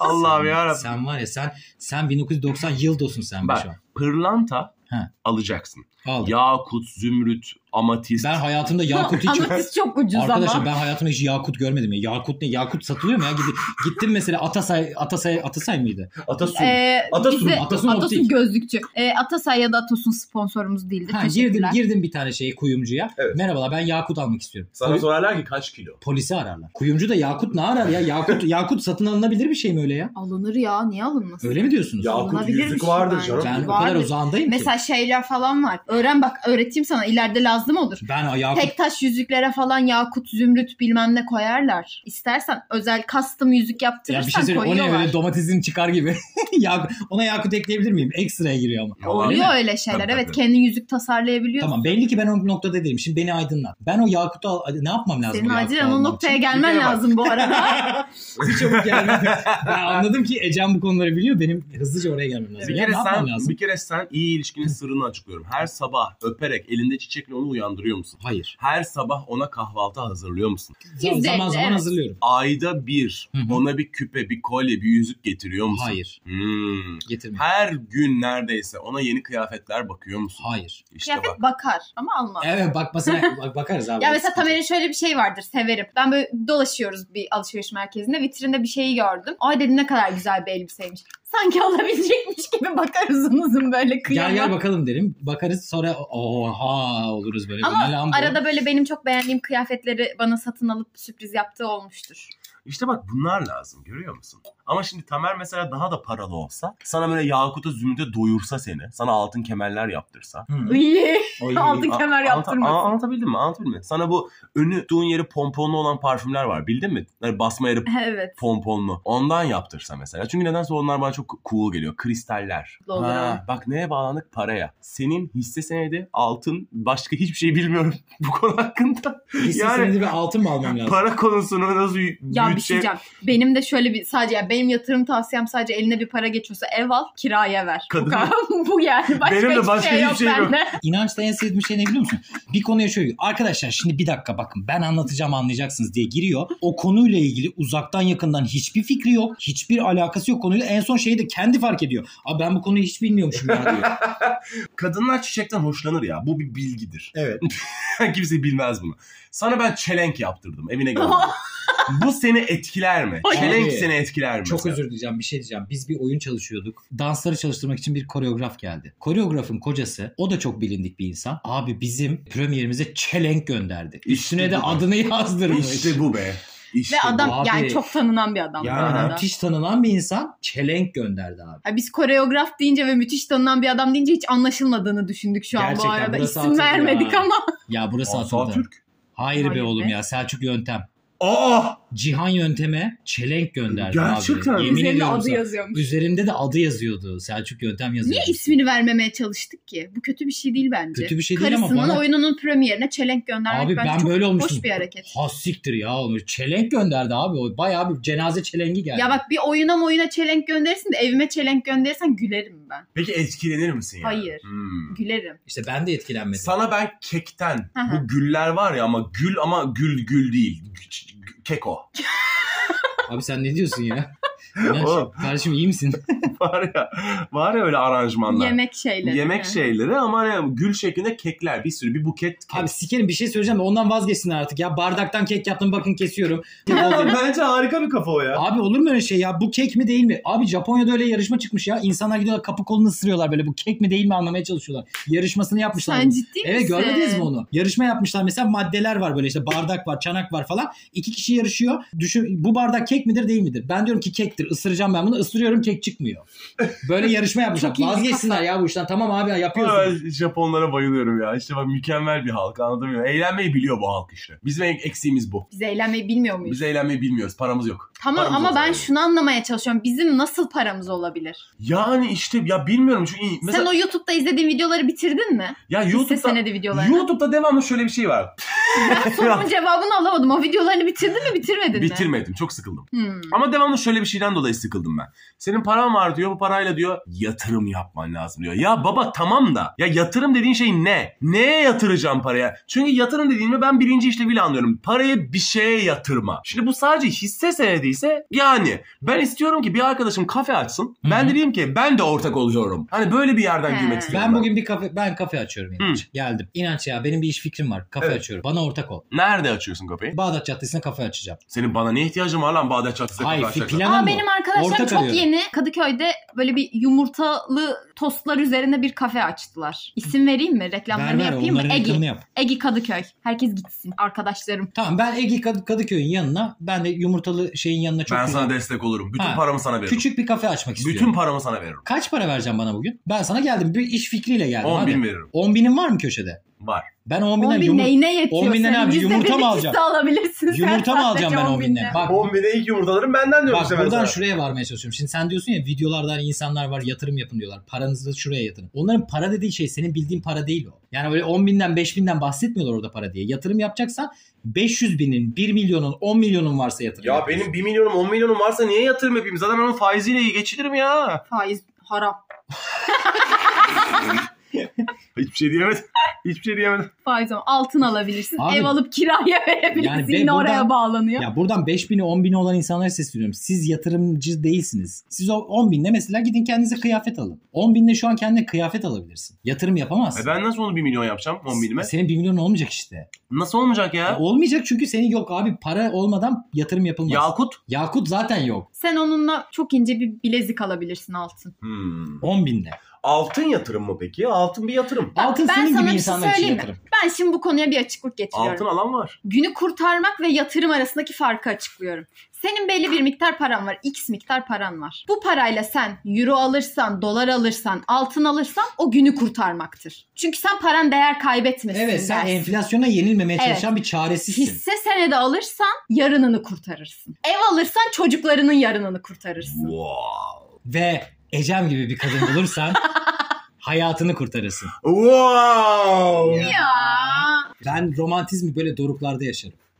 Speaker 4: Allah'ım
Speaker 2: Sen-
Speaker 4: yarabbim.
Speaker 2: Sen var ya sen sen 1990 yıldosun sen be
Speaker 4: Bak.
Speaker 2: şu an.
Speaker 4: Pırlanta
Speaker 2: He.
Speaker 4: alacaksın.
Speaker 2: Al.
Speaker 4: Yakut, zümrüt, amatist.
Speaker 2: Ben hayatımda yakut hiç
Speaker 1: Ama biz çok ucuz
Speaker 2: Arkadaşlar
Speaker 1: ama.
Speaker 2: ben hayatımda hiç yakut görmedim ya. Yakut ne? Yakut satılıyor mu ya? Gidi- Gittim mesela Atasay Atasay Atasay mıydı?
Speaker 4: Atasun.
Speaker 1: Ee,
Speaker 4: Atasun,
Speaker 1: bize-
Speaker 2: Atasun
Speaker 1: Atasun,
Speaker 2: optik.
Speaker 1: gözlükçü. Ee, Atasay ya da Atasun sponsorumuz değildir.
Speaker 2: Ha, girdim
Speaker 1: E, Teşekkürler.
Speaker 2: girdim bir tane şeye kuyumcuya.
Speaker 4: Evet.
Speaker 2: Merhabalar ben yakut almak istiyorum.
Speaker 4: Sana
Speaker 2: Poli-
Speaker 4: sorarlar ki kaç kilo?
Speaker 2: polisi ararlar. Kuyumcu da yakut ne arar ya? Yakut yakut satın alınabilir bir şey mi öyle ya?
Speaker 1: Alınır ya niye alınmasın?
Speaker 2: Öyle mi diyorsunuz?
Speaker 3: Ya- Yakut
Speaker 1: Alınabilir
Speaker 3: yüzük
Speaker 1: bir şey
Speaker 3: vardır
Speaker 1: bence.
Speaker 3: canım.
Speaker 2: Ben o
Speaker 1: Vardır.
Speaker 2: kadar uzağındayım ki.
Speaker 1: Mesela şeyler falan var. Öğren bak öğreteyim sana ileride lazım olur.
Speaker 2: Ben yakut
Speaker 1: Tek taş yüzüklere falan yakut, zümrüt bilmem ne koyarlar. İstersen özel custom yüzük
Speaker 2: ya bir
Speaker 1: yaptırırsan
Speaker 2: şey söyleyeyim o ne
Speaker 1: koyuyorlar.
Speaker 2: öyle domatesin çıkar gibi. Yak- ona yakut ekleyebilir miyim? Ekstraya giriyor ama.
Speaker 1: Oluyor öyle şeyler.
Speaker 4: Tabii,
Speaker 1: evet
Speaker 4: tabii.
Speaker 1: kendin yüzük tasarlayabiliyorsun.
Speaker 2: Tamam belli ki ben o noktada değilim. Şimdi beni aydınlat. Ben o yakutu al- ne yapmam lazım?
Speaker 1: Senin
Speaker 2: bu yakutu
Speaker 1: acilen o
Speaker 2: almam
Speaker 1: noktaya
Speaker 4: Bir
Speaker 1: gelmen
Speaker 4: kere bak.
Speaker 1: lazım bu arada.
Speaker 2: Bir çabuk geldim. ben anladım ki Ecem bu konuları biliyor. Benim hızlıca oraya gelmem lazım.
Speaker 4: Bir
Speaker 2: Ya
Speaker 4: kere,
Speaker 2: ne yapmam
Speaker 4: sen,
Speaker 2: lazım?
Speaker 4: bir kere sen iyi ilişkinin sırrını açıklıyorum. Her sabah öperek elinde çiçekle onu uyandırıyor musun?
Speaker 2: Hayır.
Speaker 4: Her sabah ona kahvaltı hazırlıyor musun?
Speaker 2: Zaman
Speaker 1: Yüzde
Speaker 2: zaman
Speaker 1: elli,
Speaker 2: zaman
Speaker 1: evet.
Speaker 2: hazırlıyorum.
Speaker 4: Ayda bir
Speaker 2: Hı hı.
Speaker 4: ona bir küpe, bir kolye, bir yüzük getiriyor musun?
Speaker 2: Hayır.
Speaker 4: Hmm.
Speaker 2: Getirmiyorum.
Speaker 4: Her gün neredeyse ona yeni kıyafetler bakıyor musun?
Speaker 2: Hayır.
Speaker 4: İşte bak.
Speaker 1: Kıyafet bakar ama almaz.
Speaker 2: Evet bakmasına bak- bakarız abi.
Speaker 1: Ya mesela Tamer'in şöyle bir şey vardır severim. Ben böyle dolaşıyoruz bir alışveriş merkezinde vitrinde bir şeyi gördüm. Ay dedi ne kadar güzel bir elbiseymiş. Sanki alabilecekmiş gibi bakar uzun uzun böyle kıyama.
Speaker 2: Gel gel bakalım derim. Bakarız sonra oha oluruz böyle.
Speaker 1: Ama
Speaker 2: Bu ne lan bu?
Speaker 1: Arada böyle benim çok beğendiğim kıyafetleri bana satın alıp sürpriz yaptığı olmuştur.
Speaker 4: İşte bak bunlar lazım görüyor musun? Ama şimdi Tamer mesela daha da paralı olsa sana böyle Yakut'a Zümrüt'e doyursa seni. Sana altın kemerler yaptırsa.
Speaker 2: Hı.
Speaker 1: İyi.
Speaker 2: Oy.
Speaker 1: Altın
Speaker 4: A-
Speaker 1: kemer
Speaker 4: anlata-
Speaker 1: yaptırmasın.
Speaker 4: a- Anlatabildim mi? Anlatabildim mi? Sana bu önü tuğun yeri pomponlu olan parfümler var bildin mi? Hani basma yeri
Speaker 1: evet.
Speaker 4: pomponlu. Ondan yaptırsa mesela. Çünkü nedense onlar bana çok cool geliyor. Kristaller.
Speaker 1: Doğru.
Speaker 4: bak neye bağlandık? Paraya. Senin hisse senedi, altın, başka hiçbir şey bilmiyorum bu konu hakkında.
Speaker 2: Hisse
Speaker 4: Yani-
Speaker 2: senedi ve altın mı almam lazım?
Speaker 4: Para konusunu nasıl yü-
Speaker 1: Ya bir şey
Speaker 4: büyütecek-
Speaker 1: diyeceğim. Benim de şöyle bir sadece yani benim yatırım tavsiyem sadece eline bir para geçiyorsa ev al kiraya ver.
Speaker 4: Kadın-
Speaker 1: Bu, kadar, bu yani. Başka
Speaker 4: Benim de
Speaker 1: hiçbir
Speaker 4: başka
Speaker 1: şey yok,
Speaker 4: hiçbir şey yok.
Speaker 1: bende.
Speaker 2: İnançta en sevdiğim şey ne biliyor musun? Bir konuya şöyle arkadaşlar şimdi bir dakika bakın ben anlatacağım anlayacaksınız diye giriyor. O konuyla ilgili uzaktan yakından hiçbir fikri yok. Hiçbir alakası yok konuyla. En son şeyi de kendi fark ediyor. Abi ben bu konuyu hiç bilmiyormuşum ya diyor.
Speaker 4: Kadınlar çiçekten hoşlanır ya. Bu bir bilgidir. Hani
Speaker 2: Evet.
Speaker 4: Kimse bilmez bunu. Sana ben çelenk yaptırdım. Evine gönderdim. bu seni etkiler mi?
Speaker 1: Ay.
Speaker 4: Çelenk
Speaker 2: Abi,
Speaker 4: seni etkiler mi?
Speaker 2: Çok
Speaker 4: mesela?
Speaker 2: özür diyeceğim bir şey diyeceğim. Biz bir oyun çalışıyorduk. Dansları çalıştırmak için bir koreograf geldi. Koreografın kocası o da çok bilindik bir insan. Abi bizim premierimize çelenk gönderdi. Üstüne de
Speaker 4: bu.
Speaker 2: adını yazdırmış.
Speaker 4: İşte bu be. İşte
Speaker 1: Ve adam
Speaker 2: Şey abi.
Speaker 1: yani çok tanınan bir adam.
Speaker 4: Ya,
Speaker 1: bu arada.
Speaker 2: Müthiş tanınan bir insan çelenk gönderdi abi.
Speaker 1: Ha, biz koreograf deyince ve müthiş tanınan bir adam deyince hiç anlaşılmadığını düşündük şu an
Speaker 2: Gerçekten
Speaker 1: bu arada.
Speaker 2: burası
Speaker 1: İsim
Speaker 2: hatırlıyor
Speaker 1: vermedik
Speaker 2: ha.
Speaker 1: ama.
Speaker 2: Ya burası
Speaker 4: Aa,
Speaker 2: atıldı.
Speaker 4: Atatürk.
Speaker 2: Hayır,
Speaker 1: Hayır
Speaker 2: be
Speaker 1: be.
Speaker 2: oğlum ya Selçuk yöntem.
Speaker 4: Aa!
Speaker 2: Cihan yönteme çelenk gönderdi
Speaker 4: Gerçekten
Speaker 2: abi.
Speaker 4: mi?
Speaker 2: Yemin
Speaker 1: Üzerinde
Speaker 2: ediyorum
Speaker 1: adı
Speaker 2: sana.
Speaker 1: yazıyormuş.
Speaker 2: Üzerinde de adı yazıyordu. Selçuk yöntem yazıyordu.
Speaker 1: Niye ismini vermemeye çalıştık ki? Bu kötü bir şey değil bence.
Speaker 2: Kötü bir şey değil ama
Speaker 1: Karısının
Speaker 2: bana-
Speaker 1: oyununun premierine çelenk göndermek
Speaker 2: Abi
Speaker 1: bence
Speaker 2: ben
Speaker 1: çok
Speaker 2: böyle olmuştum.
Speaker 1: hoş bir hareket.
Speaker 2: Ha siktir ya olmuş. Çelenk gönderdi abi. O bayağı bir cenaze çelengi geldi.
Speaker 1: Ya bak bir oyuna oyuna çelenk gönderirsin de evime çelenk gönderirsen gülerim ben.
Speaker 4: Peki etkilenir misin yani?
Speaker 1: Hayır.
Speaker 4: Hmm.
Speaker 1: Gülerim.
Speaker 2: İşte ben de etkilenmedim.
Speaker 4: Sana ben kekten
Speaker 1: Hı hı.
Speaker 4: bu güller var ya ama gül ama gül gül değil. Gü- gü- Keko.
Speaker 2: Abi sen ne diyorsun ya? İnanç,
Speaker 4: Oğlum.
Speaker 2: kardeşim iyi misin?
Speaker 4: var ya. Var ya öyle aranjmanlar.
Speaker 1: Yemek şeyleri.
Speaker 4: Yemek şey- şeyleri ama hani gül şeklinde kekler bir sürü bir buket kek.
Speaker 2: Abi sikerim bir şey söyleyeceğim de ondan vazgeçsinler artık ya. Bardaktan kek yaptım bakın kesiyorum.
Speaker 3: Bence harika bir kafa o ya.
Speaker 2: Abi olur mu öyle şey ya? Bu kek mi değil mi? Abi Japonya'da öyle yarışma çıkmış ya. İnsanlar gidiyorlar kapı kolunu ısırıyorlar böyle. Bu kek mi değil mi anlamaya çalışıyorlar. Yarışmasını yapmışlar.
Speaker 1: Sen ciddi misin?
Speaker 2: Evet görmediniz mi onu? Yarışma yapmışlar mesela maddeler var böyle işte bardak var, çanak var falan. İki kişi yarışıyor. Düşün bu bardak kek midir değil midir? Ben diyorum ki kektir. Isıracağım ben bunu. Isırıyorum kek çıkmıyor. Böyle yarışma yapmışlar.
Speaker 1: Çok iyi.
Speaker 2: Vazgeçsinler ya bu işten. Tamam abi ya yapıyorsun.
Speaker 4: Ben Japonlara bayılıyorum ya. İşte bak mükemmel bir halk anladın mı? Eğlenmeyi biliyor bu halk işte. Bizim en- eksiğimiz bu.
Speaker 1: Biz eğlenmeyi bilmiyor muyuz?
Speaker 4: Biz eğlenmeyi bilmiyoruz. Paramız yok.
Speaker 1: Tamam
Speaker 4: Paramız
Speaker 1: ama
Speaker 4: yok
Speaker 1: ben
Speaker 4: yani.
Speaker 1: şunu anlamaya çalışıyorum. Bizim nasıl paramız olabilir?
Speaker 4: Yani işte ya bilmiyorum çünkü mesela
Speaker 1: Sen o YouTube'da izlediğin videoları bitirdin mi?
Speaker 4: ya
Speaker 1: YouTube'da,
Speaker 4: YouTube'da
Speaker 1: senedi videolarını.
Speaker 4: YouTube'da devamlı şöyle bir şey var.
Speaker 1: Bunun cevabını alamadım. O videolarını bitirdin mi bitirmedin mi?
Speaker 4: Bitirmedim. Çok sıkıldım.
Speaker 1: Hmm.
Speaker 4: Ama devamlı şöyle bir şeyden dolayı sıkıldım ben. Senin paran var diyor bu parayla diyor yatırım yapman lazım diyor. Ya baba tamam da ya yatırım dediğin şey ne? Neye yatıracağım paraya? Çünkü yatırım dediğimi ben birinci işleviyle anlıyorum. Parayı bir şeye yatırma. Şimdi bu sadece hisse senediyse yani ben istiyorum ki bir arkadaşım kafe açsın. Ben de diyeyim ki ben de ortak oluyorum. Hani böyle bir yerden
Speaker 1: He.
Speaker 4: girmek istiyorum.
Speaker 2: Ben bugün bir kafe ben kafe açıyorum inanç. Geldim. İnanç ya benim bir iş fikrim var. Kafe
Speaker 4: Evet.
Speaker 2: açıyorum. Bana ortak ol.
Speaker 4: Nerede açıyorsun kafeyi?
Speaker 2: Bağdat Caddesi'ne kafe açacağım.
Speaker 4: Senin bana ne ihtiyacın var lan Bağdat Çatısı
Speaker 2: Hayır
Speaker 4: kafe
Speaker 2: fi-
Speaker 4: açacaklar?
Speaker 2: planım
Speaker 1: Aa,
Speaker 2: bu.
Speaker 1: benim arkadaşlarım
Speaker 2: Ortak
Speaker 1: çok
Speaker 2: arıyorum.
Speaker 1: yeni Kadıköy'de böyle bir yumurtalı tostlar üzerine bir kafe açtılar. İsim vereyim mi? Reklamlarını
Speaker 2: Ver ver
Speaker 1: yapayım mı?
Speaker 2: onların reklamını
Speaker 1: Egi.
Speaker 2: yap.
Speaker 1: Egi Kadıköy. Herkes gitsin arkadaşlarım.
Speaker 2: Tamam ben Ege Kad- Kadıköy'ün yanına ben de yumurtalı şeyin yanına çok
Speaker 4: Ben
Speaker 2: güzel-
Speaker 4: sana destek olurum. Bütün
Speaker 2: Ha.
Speaker 4: paramı sana veririm.
Speaker 2: küçük bir şey. kafe açmak istiyorum.
Speaker 4: Bütün paramı sana veririm.
Speaker 2: Kaç para vereceğim bana bugün? Ben sana geldim bir iş fikriyle geldim.
Speaker 4: 10 bin
Speaker 2: hadi.
Speaker 4: veririm.
Speaker 2: 10 binin var mı köşede?
Speaker 4: Var.
Speaker 2: Ben 10 bine
Speaker 1: 10 bin
Speaker 2: yumur-
Speaker 1: neyine yetiyor?
Speaker 2: 10 binden
Speaker 1: senin?
Speaker 2: abi,
Speaker 1: Yüzde
Speaker 2: yumurta mı
Speaker 1: bir
Speaker 2: alacağım?
Speaker 1: ikisi alabilirsin sen
Speaker 2: yumurta mı alacağım ben
Speaker 1: sadece
Speaker 2: 10 binden? Bak, bak
Speaker 3: 10 bine ilk yumurtalarım benden diyorum
Speaker 4: şey
Speaker 3: işte ben
Speaker 2: buradan
Speaker 3: sana.
Speaker 2: şuraya varmaya çalışıyorum. Şimdi sen diyorsun ya videolarda hani insanlar var yatırım yapın diyorlar. Paranızı şuraya yatırın. Onların para dediği şey senin bildiğin para değil o. Yani böyle 10 binden 5 binden bahsetmiyorlar orada para diye. Yatırım yapacaksan 500 binin 1 milyonun 10 milyonun varsa yatırım
Speaker 4: Ya
Speaker 2: yapıyorsun.
Speaker 4: benim 1 milyonum 10 milyonum varsa niye yatırım yapayım? Zaten onun faiziyle iyi geçinirim ya.
Speaker 1: Faiz haram.
Speaker 4: Hiçbir şey diyemedim. Hiçbir şey diyemedim.
Speaker 1: Faiz haram. Altın alabilirsin.
Speaker 2: Abi-
Speaker 1: ev alıp kiraya verebilirsin.
Speaker 2: Yani be-
Speaker 1: Yine oraya
Speaker 2: buradan-
Speaker 1: bağlanıyor.
Speaker 2: Ya buradan 5 bini 10 bini olan insanlara sesleniyorum. Siz yatırımcı değilsiniz. Siz o 10 binle mesela gidin kendinize kıyafet alın. 10 binle şu an kendine kıyafet alabilirsin. Yatırım yapamazsın.
Speaker 4: E ben nasıl onu 1 milyon yapacağım 10 binime?
Speaker 2: Senin 1 milyon olmayacak işte. E,
Speaker 4: Nasıl olmayacak ya?
Speaker 2: Olmayacak çünkü senin yok abi. Para olmadan yatırım yapılmaz.
Speaker 4: Yakut.
Speaker 2: Yakut zaten yok.
Speaker 1: Sen onunla çok ince bir bilezik alabilirsin altın.
Speaker 4: Hmm.
Speaker 2: 10 binle.
Speaker 4: Altın yatırım mı peki? Altın bir yatırım.
Speaker 2: Altın
Speaker 1: ben
Speaker 2: senin
Speaker 1: sana
Speaker 2: gibi
Speaker 1: bir şey
Speaker 2: insanlar için
Speaker 1: söyleyeyim mi?
Speaker 2: yatırım.
Speaker 1: Ben şimdi bu konuya bir açıklık getiriyorum.
Speaker 4: Altın alan var.
Speaker 1: Günü kurtarmak ve yatırım arasındaki farkı açıklıyorum. Senin belli bir miktar paran var. X miktar paran var. Bu parayla sen euro alırsan, dolar alırsan, altın alırsan o günü kurtarmaktır. Çünkü sen paran değer kaybetmesin.
Speaker 2: Evet sen
Speaker 1: dersin.
Speaker 2: enflasyona yenilmemeye
Speaker 1: Evet.
Speaker 2: çalışan bir çaresizsin.
Speaker 1: Hisse senedi alırsan yarınını kurtarırsın. Ev alırsan çocuklarının yarınını kurtarırsın.
Speaker 4: Wow.
Speaker 2: Ve Ecem gibi bir kadın bulursan hayatını kurtarırsın.
Speaker 4: Wow.
Speaker 1: Ya.
Speaker 2: Ben romantizmi böyle doruklarda yaşarım.